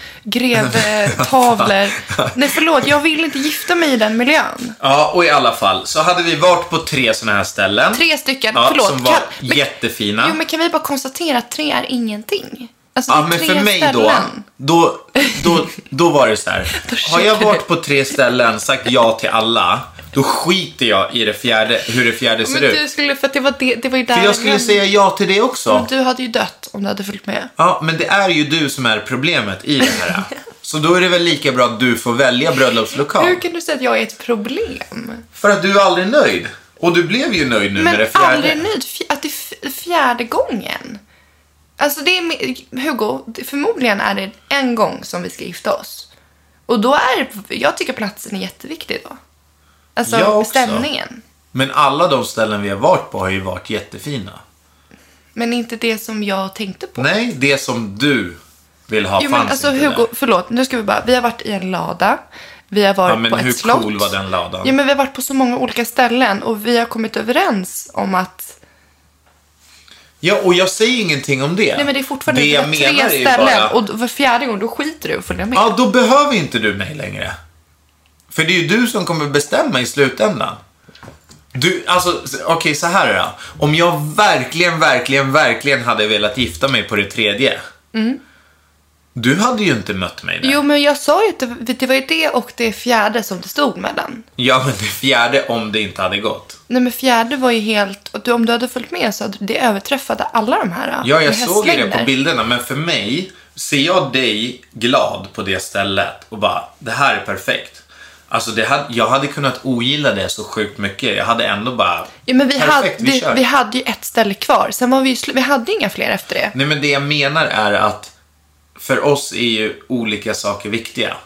Speaker 7: grevtavlor. Nej, förlåt, jag vill inte gifta mig i den miljön.
Speaker 6: Ja, och i alla fall så hade vi varit på tre sådana här ställen.
Speaker 7: Tre stycken,
Speaker 6: ja,
Speaker 7: förlåt.
Speaker 6: Som var
Speaker 7: Kan- men-
Speaker 6: jättefina.
Speaker 7: Jo, men kan vi bara konstatera att tre är ingenting? Alltså, det
Speaker 6: Ja,
Speaker 7: är
Speaker 6: men
Speaker 7: tre
Speaker 6: för mig då,
Speaker 7: ställen.
Speaker 6: då, då, då var det så
Speaker 7: [laughs]
Speaker 6: här. Har jag varit på tre ställen, sagt ja till alla, då skiter jag i det fjärde, hur det fjärde ser
Speaker 7: Men du
Speaker 6: ut.
Speaker 7: skulle, för att det var, det, det var ju där...
Speaker 6: För jag skulle
Speaker 7: vände.
Speaker 6: säga ja till det
Speaker 7: Men
Speaker 6: också.
Speaker 7: du hade ju dött om du hade följt med.
Speaker 6: Ja, men det är ju du som är problemet i det här.
Speaker 7: [laughs]
Speaker 6: Så då är det väl lika bra att du får välja bröllopslokal.
Speaker 7: Hur kan du säga att jag är ett problem?
Speaker 6: För att du är aldrig nöjd. Och du blev ju nöjd nu med det
Speaker 7: men
Speaker 6: fjärde.
Speaker 7: aldrig nöjd. Fj- Att det är f- fjärde gången. Alltså det är, mi- Hugo, det- förmodligen är det en gång som vi ska gifta oss. Och då är jag tycker platsen är jätteviktig då. Alltså
Speaker 6: Jag också.
Speaker 7: stämningen.
Speaker 6: Men alla de ställen vi har varit på har ju varit jättefina.
Speaker 7: Men inte det som jag tänkte på.
Speaker 6: Nej, det som du vill ha
Speaker 7: jo,
Speaker 6: fanns
Speaker 7: men alltså
Speaker 6: inte
Speaker 7: Hugo,
Speaker 6: där.
Speaker 7: förlåt, nu ska vi bara, vi har varit i en lada. Vi har varit
Speaker 6: Ja, men
Speaker 7: på
Speaker 6: hur
Speaker 7: ett slott.
Speaker 6: cool var den ladan?
Speaker 7: Ja, men vi har varit på så många olika ställen och vi har kommit överens om att
Speaker 6: Ja, och jag säger ingenting om det.
Speaker 7: Nej men det är fortfarande
Speaker 6: det
Speaker 7: det
Speaker 6: jag
Speaker 7: tre
Speaker 6: menar är ju
Speaker 7: ställen
Speaker 6: bara-
Speaker 7: och då- för fjärde gången då skiter du och följer med.
Speaker 6: Ja, då behöver inte du mig längre. För det är ju du som kommer bestämma i slutändan. Du, alltså, s- okej så här då. Om jag verkligen, verkligen, verkligen hade velat gifta mig på det tredje. Du hade ju inte mött mig där.
Speaker 7: Jo, men jag sa ju att det, det var ju det och det fjärde som det stod mellan.
Speaker 6: Ja, men det fjärde om det inte hade gått.
Speaker 7: Nej, men fjärde var ju helt... och Du, om du hade följt med så hade det överträffade alla de här. eh,
Speaker 6: Ja,
Speaker 7: med
Speaker 6: jag såg ju det på
Speaker 7: hästlängder.
Speaker 6: bilderna, men för mig, ser jag dig glad på det stället och bara, det här är perfekt. Alltså, det hade, jag hade kunnat ogilla det så sjukt mycket. Jag hade ändå bara,
Speaker 7: Ja, men vi, hade,
Speaker 6: perfekt, vi
Speaker 7: vi,
Speaker 6: kör.
Speaker 7: vi hade ju ett ställe kvar. Sen var vi ju slu- Vi hade inga fler efter det.
Speaker 6: Nej, men det jag menar är att för oss är ju olika saker viktiga.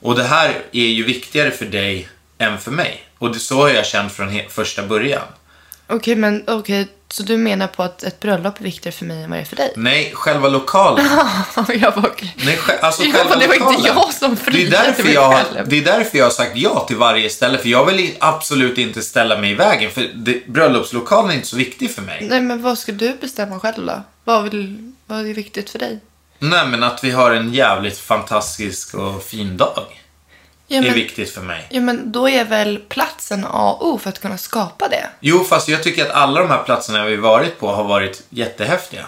Speaker 6: Och det här är ju viktigare för dig än för mig. Och det, så har jag känt från he- första början.
Speaker 7: Okej, men okej. så du menar på att ett bröllop är viktigare för mig än vad det är för dig?
Speaker 6: Nej, själva lokalen.
Speaker 7: jag bara, okej.
Speaker 6: Mm. Nej, sj- alltså
Speaker 7: [laughs] Ja,
Speaker 6: själva
Speaker 7: men det var inte
Speaker 6: lokalen.
Speaker 7: jag som
Speaker 6: det är,
Speaker 7: friade till
Speaker 6: därför
Speaker 7: mig
Speaker 6: jag, har-
Speaker 7: själv.
Speaker 6: det är därför jag har sagt ja till varje ställe, för jag vill i- absolut inte ställa mig i vägen. För det, bröllopslokalen är inte så viktig för mig.
Speaker 7: Nej, men vad ska du bestämma själv då? Vad, vill, vad är viktigt för dig?
Speaker 6: Nej, men att vi har en jävligt fantastisk och fin dag
Speaker 7: Ja,
Speaker 6: är
Speaker 7: men,
Speaker 6: viktigt för mig.
Speaker 7: ja, men då är väl platsen A och O för att kunna skapa det?
Speaker 6: Jo, fast jag tycker att alla de här platserna vi varit på har varit jättehäftiga.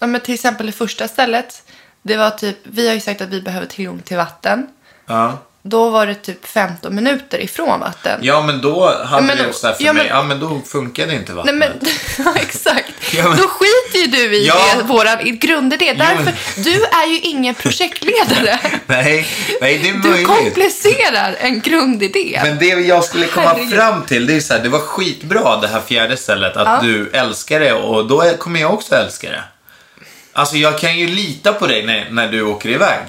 Speaker 7: Ja, men till exempel det första stället. Det var typ, vi har ju sagt att vi behöver tillgång till vatten.
Speaker 6: Ja,
Speaker 7: Då var det typ 15 minuter ifrån vatten.
Speaker 6: ja men då hade
Speaker 7: Ja, men
Speaker 6: det
Speaker 7: då-
Speaker 6: så här för
Speaker 7: ja,
Speaker 6: mig,
Speaker 7: men-
Speaker 6: ja men då funkade inte
Speaker 7: Nej
Speaker 6: vattnet.
Speaker 7: men, [laughs] ja, exakt.
Speaker 6: Ja, men-
Speaker 7: Då skiter ju du i
Speaker 6: Ja.
Speaker 7: det, våran grundidé. Därför, du är ju ingen projektledare.
Speaker 6: [laughs] nej, nej, det är
Speaker 7: Du
Speaker 6: möjligt.
Speaker 7: komplicerar en grundidé.
Speaker 6: Men det jag skulle komma
Speaker 7: Herregud.
Speaker 6: fram till, det är så här, det var skitbra det här fjärde stället, att
Speaker 7: Ja.
Speaker 6: du älskar det och då är- kommer jag också älska det. Alltså jag kan ju lita på dig när, när du åker
Speaker 7: [laughs]
Speaker 6: iväg.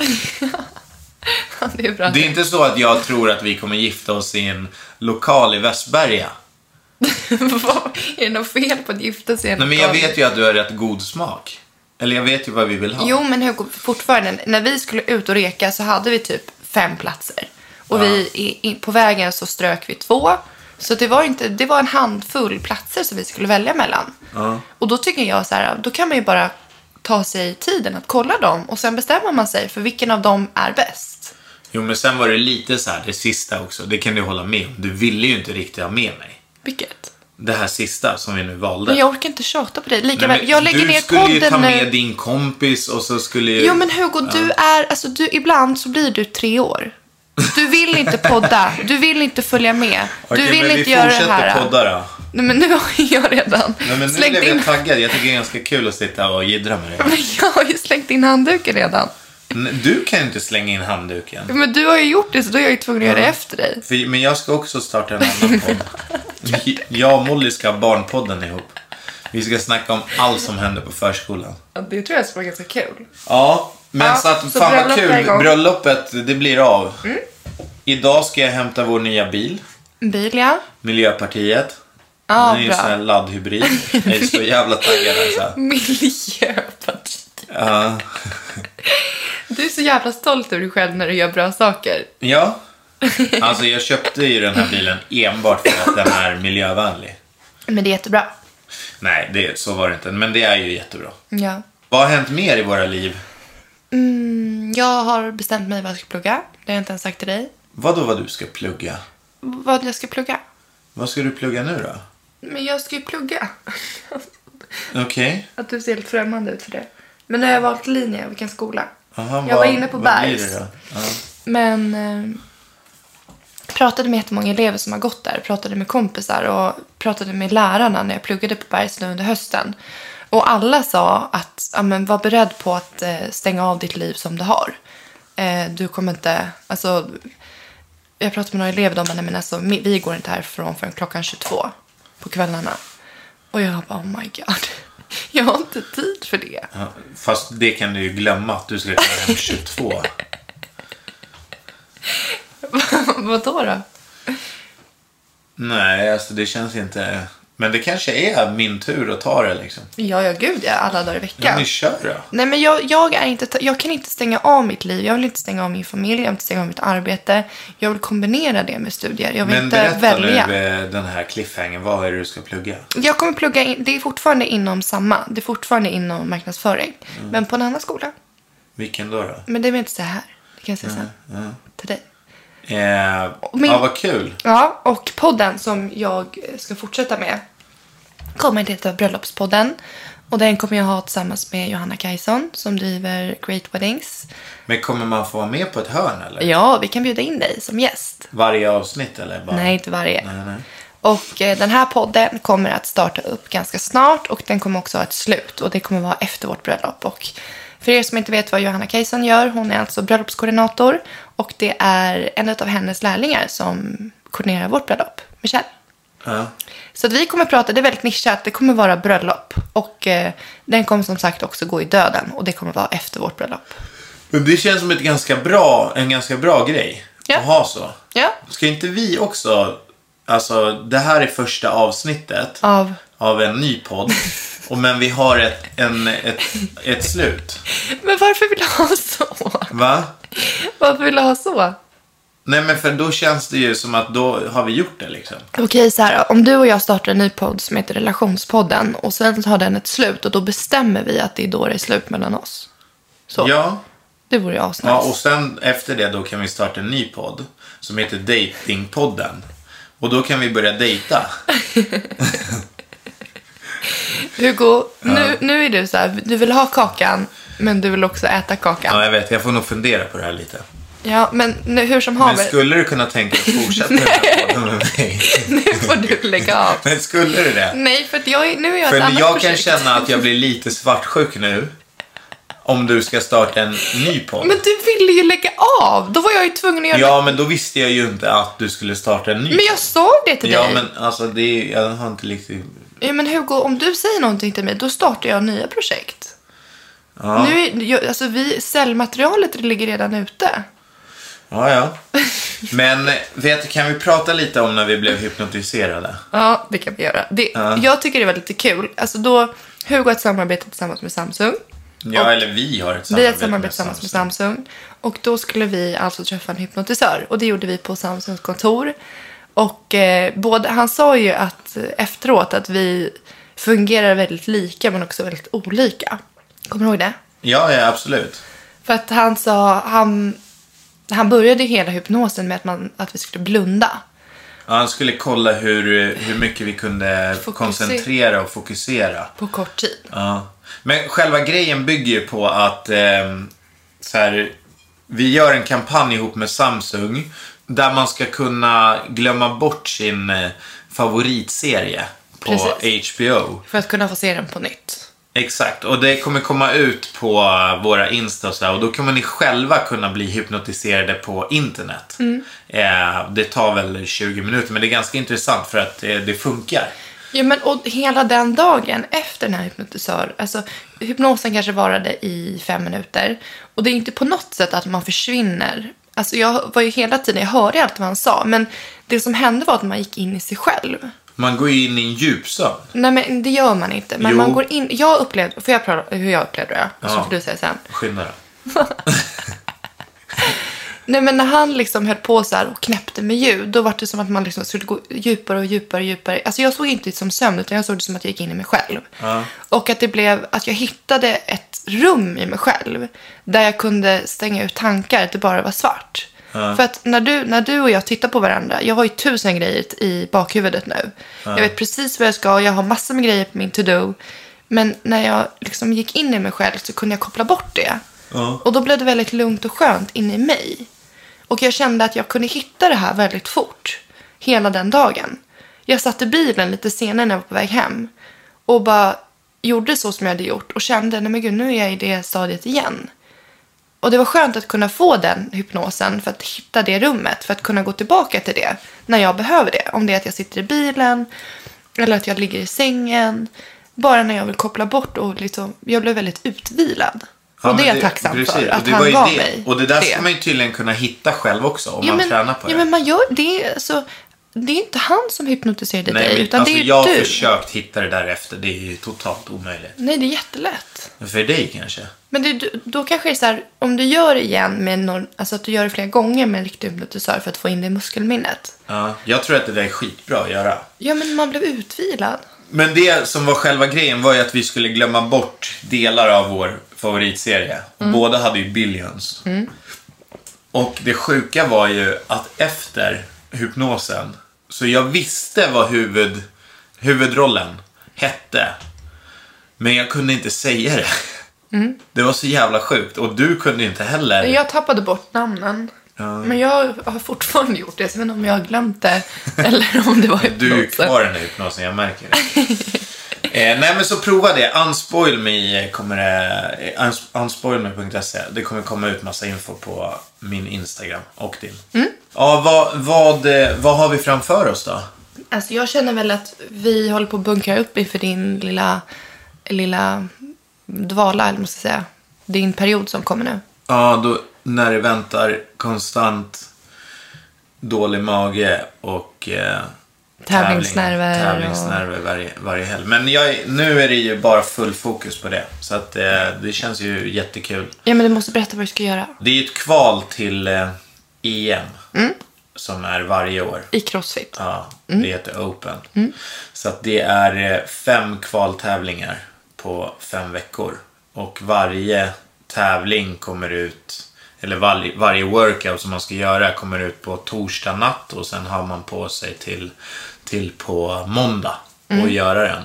Speaker 7: Ja, [laughs] det är bra.
Speaker 6: Det är inte så att jag tror att vi kommer gifta oss i en lokal i Västberga.
Speaker 7: [laughs] Vad- är det något fel på att gifta sig? i en
Speaker 6: Nej men jag
Speaker 7: lokal?
Speaker 6: vet ju att du har rätt god smak. Eller jag vet ju vad vi vill ha.
Speaker 7: Jo, men Hugo, fortfarande. När vi skulle ut och reka så hade vi typ fem platser. Och vi, i, i, på vägen så strök vi två. Så det var, inte, det var en handfull platser som vi skulle välja mellan. Och då tycker jag så här, då kan man ju bara ta sig tiden att kolla dem och sen bestämmer man sig för vilken av dem är bäst.
Speaker 6: Jo, men sen var det lite så här, det sista också. Det kan du hålla med om. Du ville ju inte riktigt ha med mig.
Speaker 7: Vilket?
Speaker 6: Det här sista som vi nu valde.
Speaker 7: Men jag orkar inte tjata på dig. Lika
Speaker 6: Nej,
Speaker 7: väl, jag lägger
Speaker 6: du
Speaker 7: ner
Speaker 6: skulle ju ta
Speaker 7: podden
Speaker 6: med
Speaker 7: nu.
Speaker 6: din kompis och så skulle ju...
Speaker 7: Jo men Hugo, du är, alltså du, ibland så blir du tre år. Du vill inte podda, du vill inte följa med, du
Speaker 6: Okej,
Speaker 7: vill
Speaker 6: men
Speaker 7: inte
Speaker 6: vi
Speaker 7: göra det
Speaker 6: fortsätter
Speaker 7: här.
Speaker 6: podda då.
Speaker 7: Nej men nu har jag redan
Speaker 6: Nej, men nu
Speaker 7: slängt
Speaker 6: blev
Speaker 7: in...
Speaker 6: jag taggad. Jag tycker det är ganska kul att sitta och jiddra med dig.
Speaker 7: [laughs] Men jag har ju slängt in handduken redan.
Speaker 6: Men Du kan ju inte slänga in handduken.
Speaker 7: Men du har ju gjort det så då är jag ju tvungen att göra det efter dig.
Speaker 6: För, men jag ska också starta en annan podd. J- Jag och Molly ska ha Barnpodden ihop. Vi ska snacka om allt som händer på förskolan.
Speaker 7: Ja, det tror jag skulle vara ganska kul.
Speaker 6: Ja, men
Speaker 7: Ja,
Speaker 6: så att
Speaker 7: så
Speaker 6: fan vad
Speaker 7: bröllop är
Speaker 6: kul.
Speaker 7: igång. Mm.
Speaker 6: Bröllopet, det blir av. Idag ska jag hämta vår nya bil.
Speaker 7: Bil ja.
Speaker 6: Miljöpartiet.
Speaker 7: Ja,
Speaker 6: Den är ju en
Speaker 7: bra.
Speaker 6: sån här laddhybrid. Jag är så jävla taggad
Speaker 7: [laughs]
Speaker 6: alltså.
Speaker 7: Miljöpartiet.
Speaker 6: Ja.
Speaker 7: Du är så jävla stolt över dig själv när du gör bra saker.
Speaker 6: Ja. Alltså jag köpte ju den här bilen enbart för att den är miljövänlig.
Speaker 7: Men det är jättebra.
Speaker 6: Nej, det, så var det inte. Men det är ju jättebra.
Speaker 7: Ja.
Speaker 6: Vad har hänt mer i våra liv?
Speaker 7: Jag har bestämt mig vad jag ska plugga. Det har jag inte ens sagt till dig.
Speaker 6: Vad då vad du ska plugga?
Speaker 7: Vad jag ska plugga?
Speaker 6: Vad ska du plugga nu då?
Speaker 7: Men jag ska ju plugga.
Speaker 6: Okej.
Speaker 7: Att du ser helt främmande ut för det. Men nu har jag valt linje, vilken skola.
Speaker 6: Jaha,
Speaker 7: jag var
Speaker 6: vad-
Speaker 7: inne på
Speaker 6: vad blir
Speaker 7: Bergs.
Speaker 6: det då? Ja.
Speaker 7: Men eh, pratade med jättemånga elever som har gått där. Pratade med kompisar och pratade med lärarna när jag pluggade på Bergs nu under hösten. Och alla sa att ja, men var beredd på att eh, stänga av ditt liv som du har. Eh, du kommer inte... Alltså, jag pratade med några elever de bara, nej men alltså, mi- vi går inte härifrån förrän klockan 22 på kvällarna. Och jag bara, oh my god. [laughs] Jag har inte tid för det.
Speaker 6: Ja, Fast det kan du ju glömma att du skulle komma hem 22.
Speaker 7: [laughs] Vadå då?
Speaker 6: Nej, alltså det känns inte... Men det kanske är min tur att ta det liksom.
Speaker 7: Ja, ja, gud ja. Alla dagar i veckan.
Speaker 6: Ja, men kör då.
Speaker 7: Nej, men jag, jag, är inte, jag kan inte stänga av mitt liv. Jag vill inte stänga av min familj, jag vill inte stänga av mitt arbete. Jag vill kombinera det med studier. Jag vill
Speaker 6: Men
Speaker 7: inte
Speaker 6: berätta
Speaker 7: välja.
Speaker 6: nu eh, den här cliffhangern. Vad är det du ska plugga?
Speaker 7: Jag kommer plugga in, det är fortfarande inom samma. Det är fortfarande inom marknadsföring.
Speaker 6: Mm.
Speaker 7: Men på en annan skola.
Speaker 6: Vilken då? då?
Speaker 7: Men det vill jag inte säga här. Det kan jag
Speaker 6: Mm,
Speaker 7: säga sen. Till dig.
Speaker 6: Eh,
Speaker 7: Men-
Speaker 6: Ja, vad kul.
Speaker 7: Ja, och podden som jag eh, ska fortsätta med kommer att heta Bröllopspodden. Och den kommer jag ha tillsammans med Johanna Kajson som driver Great Weddings.
Speaker 6: Men kommer man få vara med på ett hörn eller?
Speaker 7: Ja, vi kan bjuda in dig som gäst.
Speaker 6: Varje avsnitt eller? Bara?
Speaker 7: Nej, inte varje.
Speaker 6: Nej, nej.
Speaker 7: Och eh, den här podden kommer att starta upp ganska snart och den kommer också ha ett slut och det kommer vara efter vårt bröllop. Och för er som inte vet vad Johanna Kajson gör, hon är alltså bröllopskoordinator och det är en av hennes lärlingar som koordinerar vårt bröllop, Michelle.
Speaker 6: Ja.
Speaker 7: Så att vi kommer prata, det är väldigt nischat, det kommer vara bröllop och eh, den kommer som sagt också gå i döden och det kommer vara efter vårt bröllop.
Speaker 6: Men det känns som ett ganska bra, en ganska bra grej
Speaker 7: Ja.
Speaker 6: att ha så.
Speaker 7: Ja,
Speaker 6: Ska inte vi också, alltså det här är första avsnittet
Speaker 7: Av?
Speaker 6: av en ny
Speaker 7: [laughs]
Speaker 6: podd. Och, men vi har ett, en, ett, ett slut.
Speaker 7: men varför vill du ha så? [laughs]
Speaker 6: Va?
Speaker 7: Varför vill du ha så?
Speaker 6: Nej men för då känns det ju som att då har vi gjort det liksom.
Speaker 7: Okej, så här, om du och jag startar en ny podd som heter Relationspodden och sen har den ett slut och då bestämmer vi att det är då det är slut mellan oss. Så,
Speaker 6: Ja.
Speaker 7: det vore ju asnice.
Speaker 6: ja, och sen efter det då kan vi starta en ny podd som heter Datingpodden. Och då kan vi börja dejta.
Speaker 7: Hugo, nu, nu är du så här, du vill ha kakan, men du vill också äta kakan.
Speaker 6: Ja,
Speaker 7: Ja,
Speaker 6: jag vet. Jag får nog fundera på det här lite.
Speaker 7: men nu, hur som
Speaker 6: Men
Speaker 7: haver,
Speaker 6: skulle du kunna tänka dig att fortsätta den här podden med mig?
Speaker 7: [laughs]
Speaker 6: [laughs]
Speaker 7: nu får du lägga av.
Speaker 6: Men skulle du det?
Speaker 7: Nej, för Mm, att jag, är- nu är jag
Speaker 6: För
Speaker 7: ett annat
Speaker 6: jag kan
Speaker 7: projekt.
Speaker 6: känna att jag blir lite svartsjuk nu. Om du ska starta en ny podd.
Speaker 7: Men du ville ju lägga av, då var jag ju tvungen att göra
Speaker 6: Ja, men då visste jag ju inte att du skulle starta en ny.
Speaker 7: Men jag sa det till
Speaker 6: ja,
Speaker 7: dig.
Speaker 6: men alltså det är, jag har inte riktigt...
Speaker 7: Ja, men Hugo, om du säger någonting till mig, då startar jag nya projekt. Nu är, jag, alltså vi, säljmaterialet ligger redan ute.
Speaker 6: Ja, ja. Men vet du, kan vi prata lite om när vi blev hypnotiserade?
Speaker 7: Ja, det kan vi göra. Det, Jag tycker det var lite kul. Alltså då, Hugo har ett samarbete tillsammans med Samsung.
Speaker 6: Ja,
Speaker 7: Och-
Speaker 6: eller vi har ett samarbete
Speaker 7: Vi har ett samarbete tillsammans med Samsung. Och då skulle vi alltså träffa en hypnotisör. Och det gjorde vi på Samsungs kontor. Och eh, både, han sa ju att eh, efteråt att vi fungerar väldigt lika men också väldigt olika. Kommer du ihåg det?
Speaker 6: Ja, ja, absolut.
Speaker 7: För att han sa, han, han började ju hela hypnosen med att, man, att vi skulle blunda.
Speaker 6: Ja, han skulle kolla hur, hur mycket vi kunde
Speaker 7: Fokusera.
Speaker 6: koncentrera och fokusera.
Speaker 7: På kort tid.
Speaker 6: Ja. Men själva grejen bygger ju på att ehm, så här, vi gör en kampanj ihop med Samsung där man ska kunna glömma bort sin eh, favoritserie på
Speaker 7: Precis.
Speaker 6: HBO.
Speaker 7: För att kunna få se den på nytt.
Speaker 6: Exakt, och det kommer komma ut på våra Insta och, så här, och då kommer ni själva kunna bli hypnotiserade på internet. Eh, det tar väl 20 minuter, men det är ganska intressant för att eh, det funkar.
Speaker 7: Ja, men och hela den dagen efter den här hypnotisör, alltså hypnosen kanske varade i fem minuter och det är inte på något sätt att man försvinner. Alltså jag var ju hela tiden, jag hörde allt vad han sa, men det som hände var att man gick in i sig själv.
Speaker 6: Man går ju in i en djupsömn.
Speaker 7: Nej men det gör man inte, men
Speaker 6: Jo.
Speaker 7: man går in, jag upplevde, får jag prata hur jag upplevde det? Och så
Speaker 6: Ja.
Speaker 7: får du säga sen.
Speaker 6: Skynda dig.
Speaker 7: Nej men när han liksom höll på så här och knäppte med ljud, då var det som att man liksom skulle gå djupare och djupare och djupare. Alltså jag såg inte det som sömn, utan jag såg det som att jag gick in i mig själv. Och att det blev, att jag hittade ett rum i mig själv, där jag kunde stänga ut tankar, att det bara var svart. För att när du, när du och jag tittar på varandra, jag har ju tusen grejer i bakhuvudet nu. Jag vet precis vad jag ska, jag har massor med grejer på min to-do. Men när jag liksom gick in i mig själv så kunde jag koppla bort det. Och då blev det väldigt lugnt och skönt inne i mig. Och jag kände att jag kunde hitta det här väldigt fort. Hela den dagen. Jag satt i bilen lite senare när jag var på väg hem. Och bara gjorde så som jag hade gjort. Och kände, nej men gud nu är jag i det stadiet igen. Och det var skönt att kunna få den hypnosen för att hitta det rummet. För att kunna gå tillbaka till det när jag behöver det. Om det är att jag sitter i bilen. Eller att jag ligger i sängen. Bara när jag vill koppla bort och liksom, jag blev väldigt utvilad.
Speaker 6: Ja,
Speaker 7: och det är
Speaker 6: men
Speaker 7: jag tacksam för,
Speaker 6: precis. Och
Speaker 7: att
Speaker 6: det var
Speaker 7: han
Speaker 6: ju
Speaker 7: gav
Speaker 6: det.
Speaker 7: mig
Speaker 6: Och det där ska man ju tydligen kunna hitta själv också om
Speaker 7: ja,
Speaker 6: man
Speaker 7: men,
Speaker 6: tränar på
Speaker 7: ja,
Speaker 6: det.
Speaker 7: men man gör det. Så, det är inte han som hypnotiserade
Speaker 6: Nej,
Speaker 7: dig,
Speaker 6: men,
Speaker 7: utan
Speaker 6: alltså,
Speaker 7: det är
Speaker 6: jag har
Speaker 7: du.
Speaker 6: försökt hitta det där efter. Det är ju totalt omöjligt.
Speaker 7: Nej, det är jättelätt.
Speaker 6: För dig kanske?
Speaker 7: Men det, du- då kanske det är så här, om du gör det igen med någon, alltså att du gör det flera gånger med en riktig hypnotisör för att få in det i muskelminnet.
Speaker 6: Ja, jag tror att det där är skitbra att göra.
Speaker 7: Ja, men man blev utvilad.
Speaker 6: Men det som var själva grejen var ju att vi skulle glömma bort delar av vår favoritserie. Och Båda hade ju Billions. Och det sjuka var ju att efter hypnosen, så jag visste vad huvud, huvudrollen hette. Men jag kunde inte säga det. Det var så jävla sjukt. Och du kunde inte heller.
Speaker 7: Jag tappade bort namnen. Men jag har fortfarande gjort det, så jag vet inte om jag har
Speaker 6: [laughs]
Speaker 7: glömt det eller om det var
Speaker 6: Du är ju
Speaker 7: hypnosen.
Speaker 6: kvar i den här hypnosen, jag märker det. Eh, nej men så prova det. Unspoil me kommer det... eh, uns- Unspoilme.se. Det kommer komma ut massa info på min Instagram och din.
Speaker 7: Mm.
Speaker 6: Ja, vad, vad, eh, vad har vi framför oss då?
Speaker 7: [laughs] Alltså jag känner väl att vi håller på att bunkra upp inför din lilla, lilla dvala, eller vad man ska säga. Din period som kommer nu.
Speaker 6: Ja, då, när det väntar konstant dålig mage och eh,
Speaker 7: Tävlingsnerver
Speaker 6: tävling-
Speaker 7: och-
Speaker 6: tävlingsnerver varje, varje helg. Men jag, är- nu är det ju bara full fokus på det. Så att, eh, det känns ju jättekul.
Speaker 7: Ja, men du måste berätta vad du ska göra.
Speaker 6: Det är ju ett kval till eh, EM. Som är varje år.
Speaker 7: I crossfit.
Speaker 6: Ja, Det heter Open. Så att det är eh, fem kvaltävlingar på fem veckor. Och varje tävling kommer ut, eller varje, varje workout som man ska göra kommer ut på torsdag natt och sen har man på sig till, till på måndag och göra den.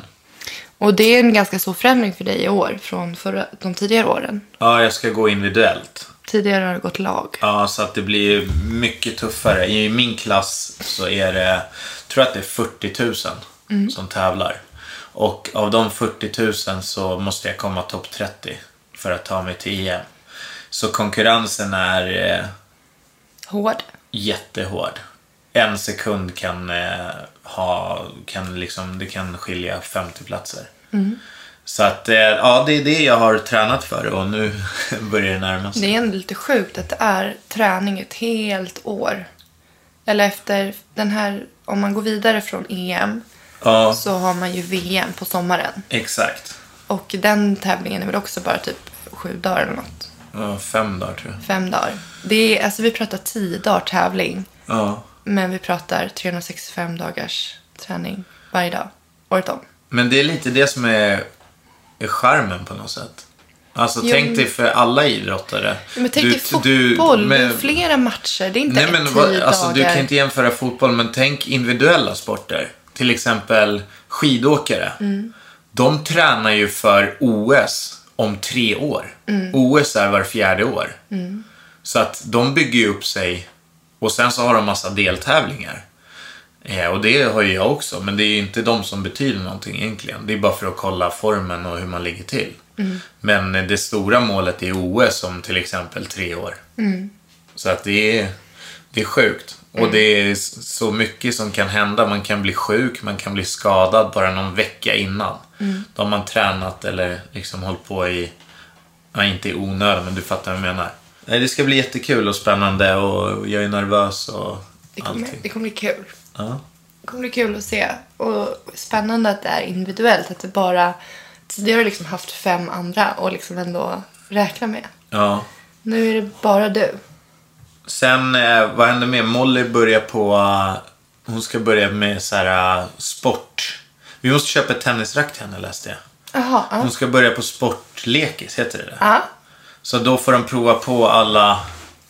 Speaker 7: Och det är en ganska stor förändring för dig i år från förra, de tidigare åren.
Speaker 6: Ja, jag ska gå individuellt.
Speaker 7: Tidigare har det gått lag.
Speaker 6: Ja, så att det blir ju mycket tuffare. I min klass så är det, tror jag att det är 40 000
Speaker 7: Mm.
Speaker 6: som tävlar. Och av de 40 000 så måste jag komma topp 30 för att ta mig till EM. Så konkurrensen är eh,
Speaker 7: Hård.
Speaker 6: jättehård. En sekund kan eh, ha, kan liksom, det kan skilja 50 platser.
Speaker 7: Mm.
Speaker 6: Så att, eh, ja det är det jag har tränat för och nu [laughs] börjar det närma sig.
Speaker 7: Det är ändå lite sjukt att det är träning ett helt år. Eller efter den här, om man går vidare från EM
Speaker 6: Ja,
Speaker 7: så har man ju VM på sommaren.
Speaker 6: exakt.
Speaker 7: Och den tävlingen är väl också bara typ sju dagar eller något.
Speaker 6: Ja, fem dagar tror jag.
Speaker 7: Fem dagar. Det är, alltså vi pratar tio dagar tävling.
Speaker 6: Ja.
Speaker 7: Men vi pratar 365 dagars träning varje dag, året om.
Speaker 6: Men det är lite det som är, är charmen på något sätt. Alltså tänk dig för alla idrottare.
Speaker 7: Men tänk dig fotboll, det är flera matcher. Det är inte
Speaker 6: Nej, men,
Speaker 7: tio
Speaker 6: vad- alltså, Du
Speaker 7: dagar.
Speaker 6: kan inte jämföra fotboll, men tänk individuella sporter. Till exempel skidåkare.
Speaker 7: Mm.
Speaker 6: De tränar ju för OS om tre år.
Speaker 7: Mm.
Speaker 6: OS är var fjärde år. Så att de bygger ju upp sig och sen så har de massa deltävlingar. Eh, och det har ju jag också, men det är ju inte de som betyder någonting egentligen. Det är bara för att kolla formen och hur man ligger till.
Speaker 7: Mm.
Speaker 6: Men eh, det stora målet är OS om till exempel tre år.
Speaker 7: Mm.
Speaker 6: Så att det är, det är sjukt. Och det är s- så mycket som kan hända. Man kan bli sjuk, man kan bli skadad bara någon vecka innan.
Speaker 7: Mm.
Speaker 6: Då har man tränat eller liksom hållit på i, ja, inte i onödan, men du fattar vad jag menar. Nej, det ska bli jättekul och spännande och jag är nervös och
Speaker 7: Det kommer,
Speaker 6: allting.
Speaker 7: det kommer bli kul.
Speaker 6: Ja.
Speaker 7: Det kommer bli kul att se. Och spännande att det är individuellt. Att det bara... Tidigare har jag liksom haft fem andra och liksom ändå räkna med.
Speaker 6: ja.
Speaker 7: Nu är det bara du.
Speaker 6: Sen, eh, vad händer mer? Molly börjar på... eh, Hon ska börja med så här eh, sport. Vi måste köpa ett tennisrack till henne läste jag.
Speaker 7: Jaha, ja.
Speaker 6: Hon ska börja på sportlekis, heter det det?
Speaker 7: Ja,
Speaker 6: Så då får de prova på alla,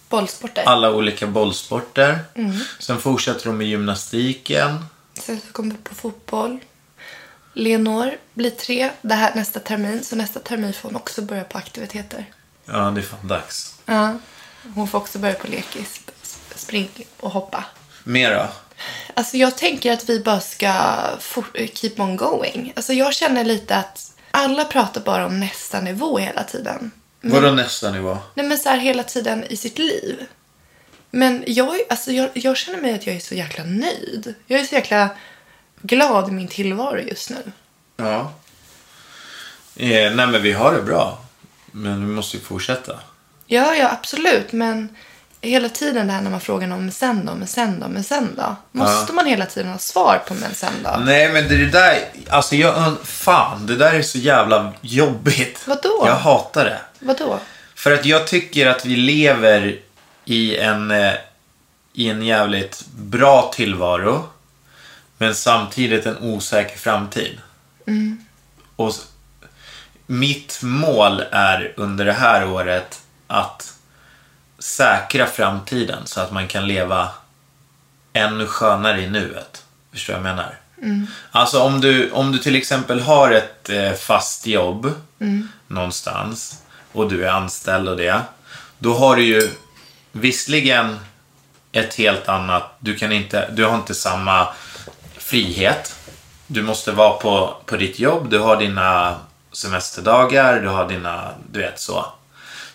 Speaker 7: bollsporter.
Speaker 6: alla olika bollsporter. Sen fortsätter de med gymnastiken.
Speaker 7: Sen så kommer vi på fotboll. Leonor blir tre det här nästa termin. Så nästa termin får hon också börja på aktiviteter.
Speaker 6: Ja, det är fan dags.
Speaker 7: Ja. Hon får också börja på lekis, sp- spring och hoppa.
Speaker 6: Mer då?
Speaker 7: Alltså jag tänker att vi bara ska for- keep on going. Alltså jag känner lite att alla pratar bara om nästa nivå hela tiden.
Speaker 6: Vadå nästa nivå?
Speaker 7: Nej men så här hela tiden i sitt liv. Men jag, är- alltså jag, jag känner mig att jag är så jäkla nöjd. Jag är så jäkla glad i min tillvaro just nu.
Speaker 6: Ja. Eh, nej, men vi har det bra. Men vi måste ju fortsätta.
Speaker 7: Ja, ja absolut. Men hela tiden det här när man frågar någon, men sen då, men sen då, men sen då. Måste man hela tiden ha svar på men sen då?
Speaker 6: Nej, men det, det där... Alltså, jag... un- Fan, det där är så jävla jobbigt.
Speaker 7: Vadå?
Speaker 6: Jag hatar det.
Speaker 7: Vadå?
Speaker 6: För att jag tycker att vi lever i en, eh, i en jävligt bra tillvaro. Men samtidigt en osäker framtid. Och s- mitt mål är under det här året att säkra framtiden så att man kan leva ännu skönare i nuet. Förstår du vad jag menar? Alltså om du, om du till exempel har ett eh, fast jobb
Speaker 7: Mm.
Speaker 6: någonstans och du är anställd och det. Då har du ju visserligen ett helt annat, du, kan inte, du har inte samma frihet. Du måste vara på, på ditt jobb, du har dina semesterdagar, du har dina, du vet så.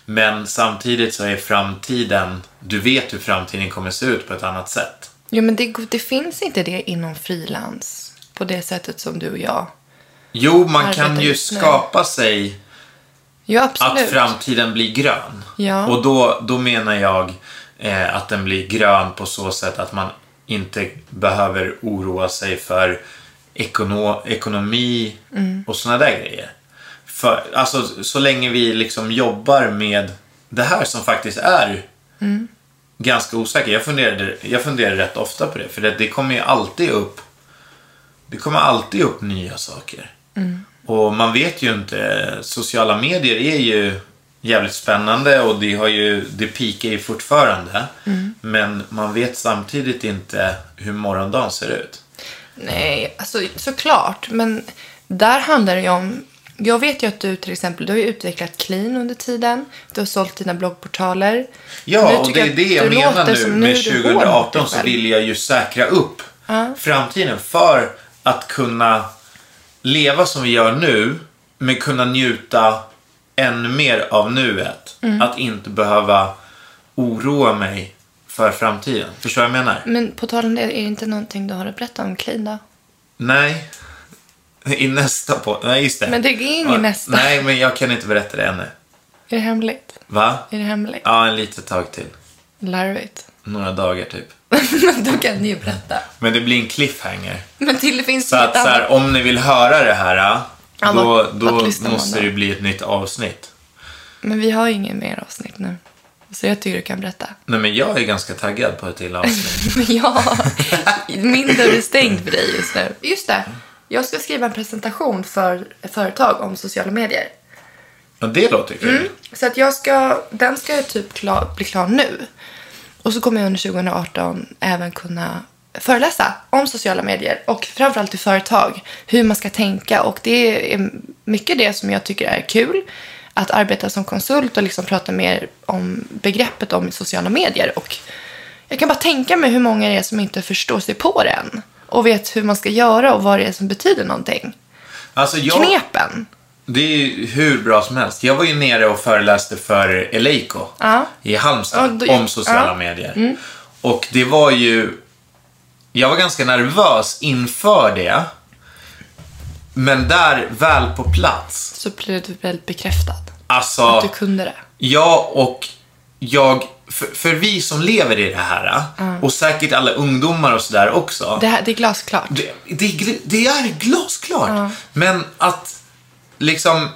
Speaker 6: Men samtidigt så är framtiden, du vet hur framtiden kommer se ut på ett annat sätt.
Speaker 7: Jo, men det, det finns inte det inom frilans på det sättet som du och jag.
Speaker 6: Jo, man
Speaker 7: Arbetar
Speaker 6: kan ju
Speaker 7: just nu.
Speaker 6: skapa sig
Speaker 7: Ja,
Speaker 6: att
Speaker 7: absolut.
Speaker 6: framtiden blir grön.
Speaker 7: Ja.
Speaker 6: Och då, då menar jag eh, att den blir grön på så sätt att man inte behöver oroa sig för ekono- ekonomi
Speaker 7: Mm.
Speaker 6: och såna där grejer. För, alltså, så länge vi liksom jobbar med det här som faktiskt är
Speaker 7: Mm.
Speaker 6: ganska osäkert. Jag funderade, jag funderar rätt ofta på det, för det, det kommer ju alltid upp det kommer alltid upp nya saker. Och man vet ju inte. Sociala medier är ju jävligt spännande och det, har ju, det pikar ju fortfarande.
Speaker 7: Mm.
Speaker 6: Men man vet samtidigt inte hur morgondagen ser ut.
Speaker 7: Nej, alltså såklart. Men där handlar det ju om... Jag vet ju att du till exempel, du har ju utvecklat Clean under tiden. Du har sålt dina bloggportaler. Nu
Speaker 6: Ja, och
Speaker 7: tycker
Speaker 6: det är
Speaker 7: att
Speaker 6: det jag
Speaker 7: du
Speaker 6: menar
Speaker 7: låter
Speaker 6: nu.
Speaker 7: som
Speaker 6: Med
Speaker 7: du är hård mot dig
Speaker 6: 2018 så
Speaker 7: själv.
Speaker 6: vill jag ju säkra upp framtiden för att kunna leva som vi gör nu, men kunna njuta ännu mer av nuet.
Speaker 7: Mm.
Speaker 6: Att inte behöva oroa mig för framtiden. Förstår du vad jag menar?
Speaker 7: Men på tal om det, är det inte någonting du har att berätta om Clean då?
Speaker 6: Nej. I nästa på. Nej, just det.
Speaker 7: Men det är ingen
Speaker 6: Ja,
Speaker 7: nästa.
Speaker 6: Nej, men jag kan inte berätta det ännu.
Speaker 7: Är det hemligt?
Speaker 6: Va?
Speaker 7: Är det hemligt?
Speaker 6: Ja, en litet tag till.
Speaker 7: Larvigt.
Speaker 6: Några dagar typ.
Speaker 7: Men [laughs] då kan ni ju berätta.
Speaker 6: Men det blir en cliffhanger.
Speaker 7: Men till det finns
Speaker 6: Så att
Speaker 7: inget
Speaker 6: så
Speaker 7: annat.
Speaker 6: här, om ni vill höra det här,
Speaker 7: Ja,
Speaker 6: då,
Speaker 7: vart-
Speaker 6: då
Speaker 7: vart lyssnar man
Speaker 6: måste
Speaker 7: då?
Speaker 6: det bli ett nytt avsnitt.
Speaker 7: Men vi har ju ingen mer avsnitt nu. Så jag tycker du kan berätta.
Speaker 6: Nej, men jag är ganska taggad på ett till avsnitt.
Speaker 7: [laughs] ja, min dörr är stängd för dig just nu. Just det. Jag ska skriva en presentation för företag om sociala medier.
Speaker 6: Och det låter kul.
Speaker 7: Så att jag ska, den ska ju typ klar, bli klar nu. Och så kommer jag under 2018 även kunna föreläsa om sociala medier och framförallt till företag hur man ska tänka. Och det är mycket det som jag tycker är kul. Att arbeta som konsult och liksom prata mer om begreppet om sociala medier. Och jag kan bara tänka mig hur många det är som inte förstår sig på det än. Och vet hur man ska göra och vad det är som betyder någonting.
Speaker 6: Alltså, jag...
Speaker 7: Knepen.
Speaker 6: Det är ju hur bra som helst. Jag var ju nere och föreläste för Eleiko
Speaker 7: Ja.
Speaker 6: i Halmstad
Speaker 7: Ja, då-
Speaker 6: om sociala
Speaker 7: ja. Mm.
Speaker 6: medier. Och det var ju... Jag var ganska nervös inför det. Men där, väl på plats.
Speaker 7: Så blir du väldigt bekräftad.
Speaker 6: Alltså...
Speaker 7: Att du kunde det.
Speaker 6: Ja, och jag... För, för vi som lever i det här, och säkert alla ungdomar och sådär också.
Speaker 7: Det, här, det är glasklart.
Speaker 6: Det, det, är gl- det är glasklart. Men att liksom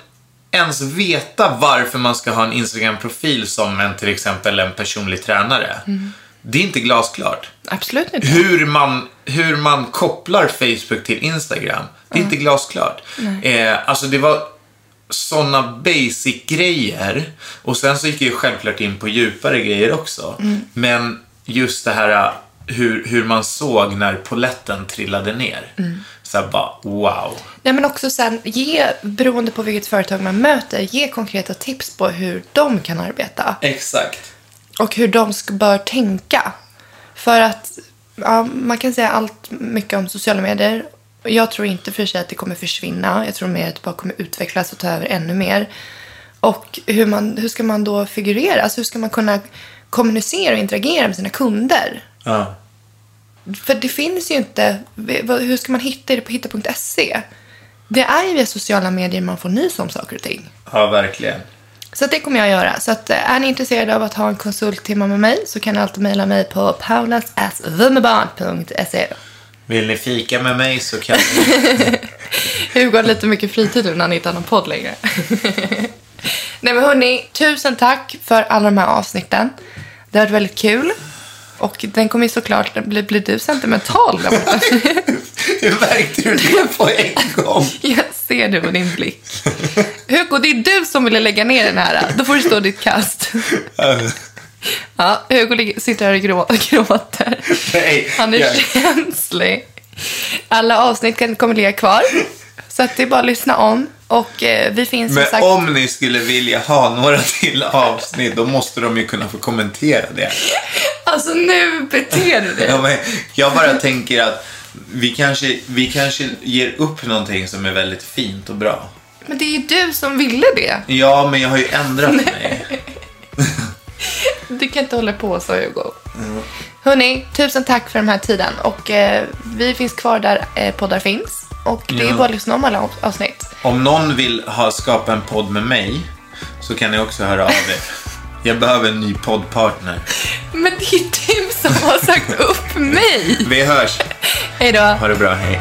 Speaker 6: ens veta varför man ska ha en Instagram-profil som en till exempel en personlig tränare. Det är inte glasklart.
Speaker 7: Absolut inte.
Speaker 6: Hur man, hur man kopplar Facebook till Instagram, det är inte glasklart. Eh, alltså det var såna basic grejer. Och sen så gick jag ju självklart in på djupare grejer också. Men just det här eh, hur, hur man såg när poletten trillade ner. Så här bara wow.
Speaker 7: Nej, men också sen, ge, beroende på vilket företag man möter, ge konkreta tips på hur de kan arbeta.
Speaker 6: Exakt.
Speaker 7: Och hur de sk- bör tänka. För att ja, man kan säga allt mycket om sociala medier. Jag tror inte för sig att det kommer försvinna. Jag tror mer att det bara kommer utvecklas och ta över ännu mer. Och hur, man, hur ska man då figurera? Alltså hur ska man kunna kommunicera och interagera med sina kunder?
Speaker 6: Ja.
Speaker 7: För det finns ju inte... Hur ska man hitta det på hitta.se? Det är ju via sociala medier man får nys om saker och ting.
Speaker 6: ja, verkligen.
Speaker 7: Så att det kommer jag göra. Så att eh, är ni intresserade av att ha en konsulttimme med mig så kan ni alltid mejla mig på paulasasvummerbarn.se.
Speaker 6: Vill ni fika med mig så kan ni.
Speaker 7: Hugo har lite mycket fritid nu när han inte har någon podd längre. [laughs] Nej men hörni, tusen tack för alla de här avsnitten. Det har varit väldigt kul. Och den kommer ju såklart, blir, blir du sentimental [laughs] där borta?
Speaker 6: Hur [laughs] märkte du det på en [laughs] gång?
Speaker 7: Jag ser det på din blick. Hugo, det är du som ville lägga ner den här. Då får du stå ditt kast. Ja, Hugo ligger- sitter här och grå- gråter.
Speaker 6: Nej,
Speaker 7: Han är
Speaker 6: jag-
Speaker 7: känslig. Alla avsnitt kan- kommer ligga kvar. Så att det är bara att lyssna om. Och eh, vi finns som
Speaker 6: Men
Speaker 7: sagt...
Speaker 6: om ni skulle vilja ha några till avsnitt, då måste de ju kunna få kommentera det.
Speaker 7: Alltså nu beter du dig.
Speaker 6: Ja, men Jag bara tänker att vi kanske, vi kanske ger upp någonting som är väldigt fint och bra.
Speaker 7: Men det är ju du som ville det.
Speaker 6: Ja, men jag har ju ändrat mig.
Speaker 7: Du kan inte hålla på så Hugo. Hörni, tusen tack för den här tiden. Och eh, vi finns kvar där eh, poddar finns. Och det är
Speaker 6: Ja.
Speaker 7: bara att lyssna om alla av- avsnitt.
Speaker 6: Om någon vill ha, skapa en podd med mig så kan ni också höra av er. Jag behöver en ny poddpartner.
Speaker 7: Men det är du som har sagt upp mig!
Speaker 6: Vi hörs.
Speaker 7: Hej då!
Speaker 6: Ha det bra. Hej.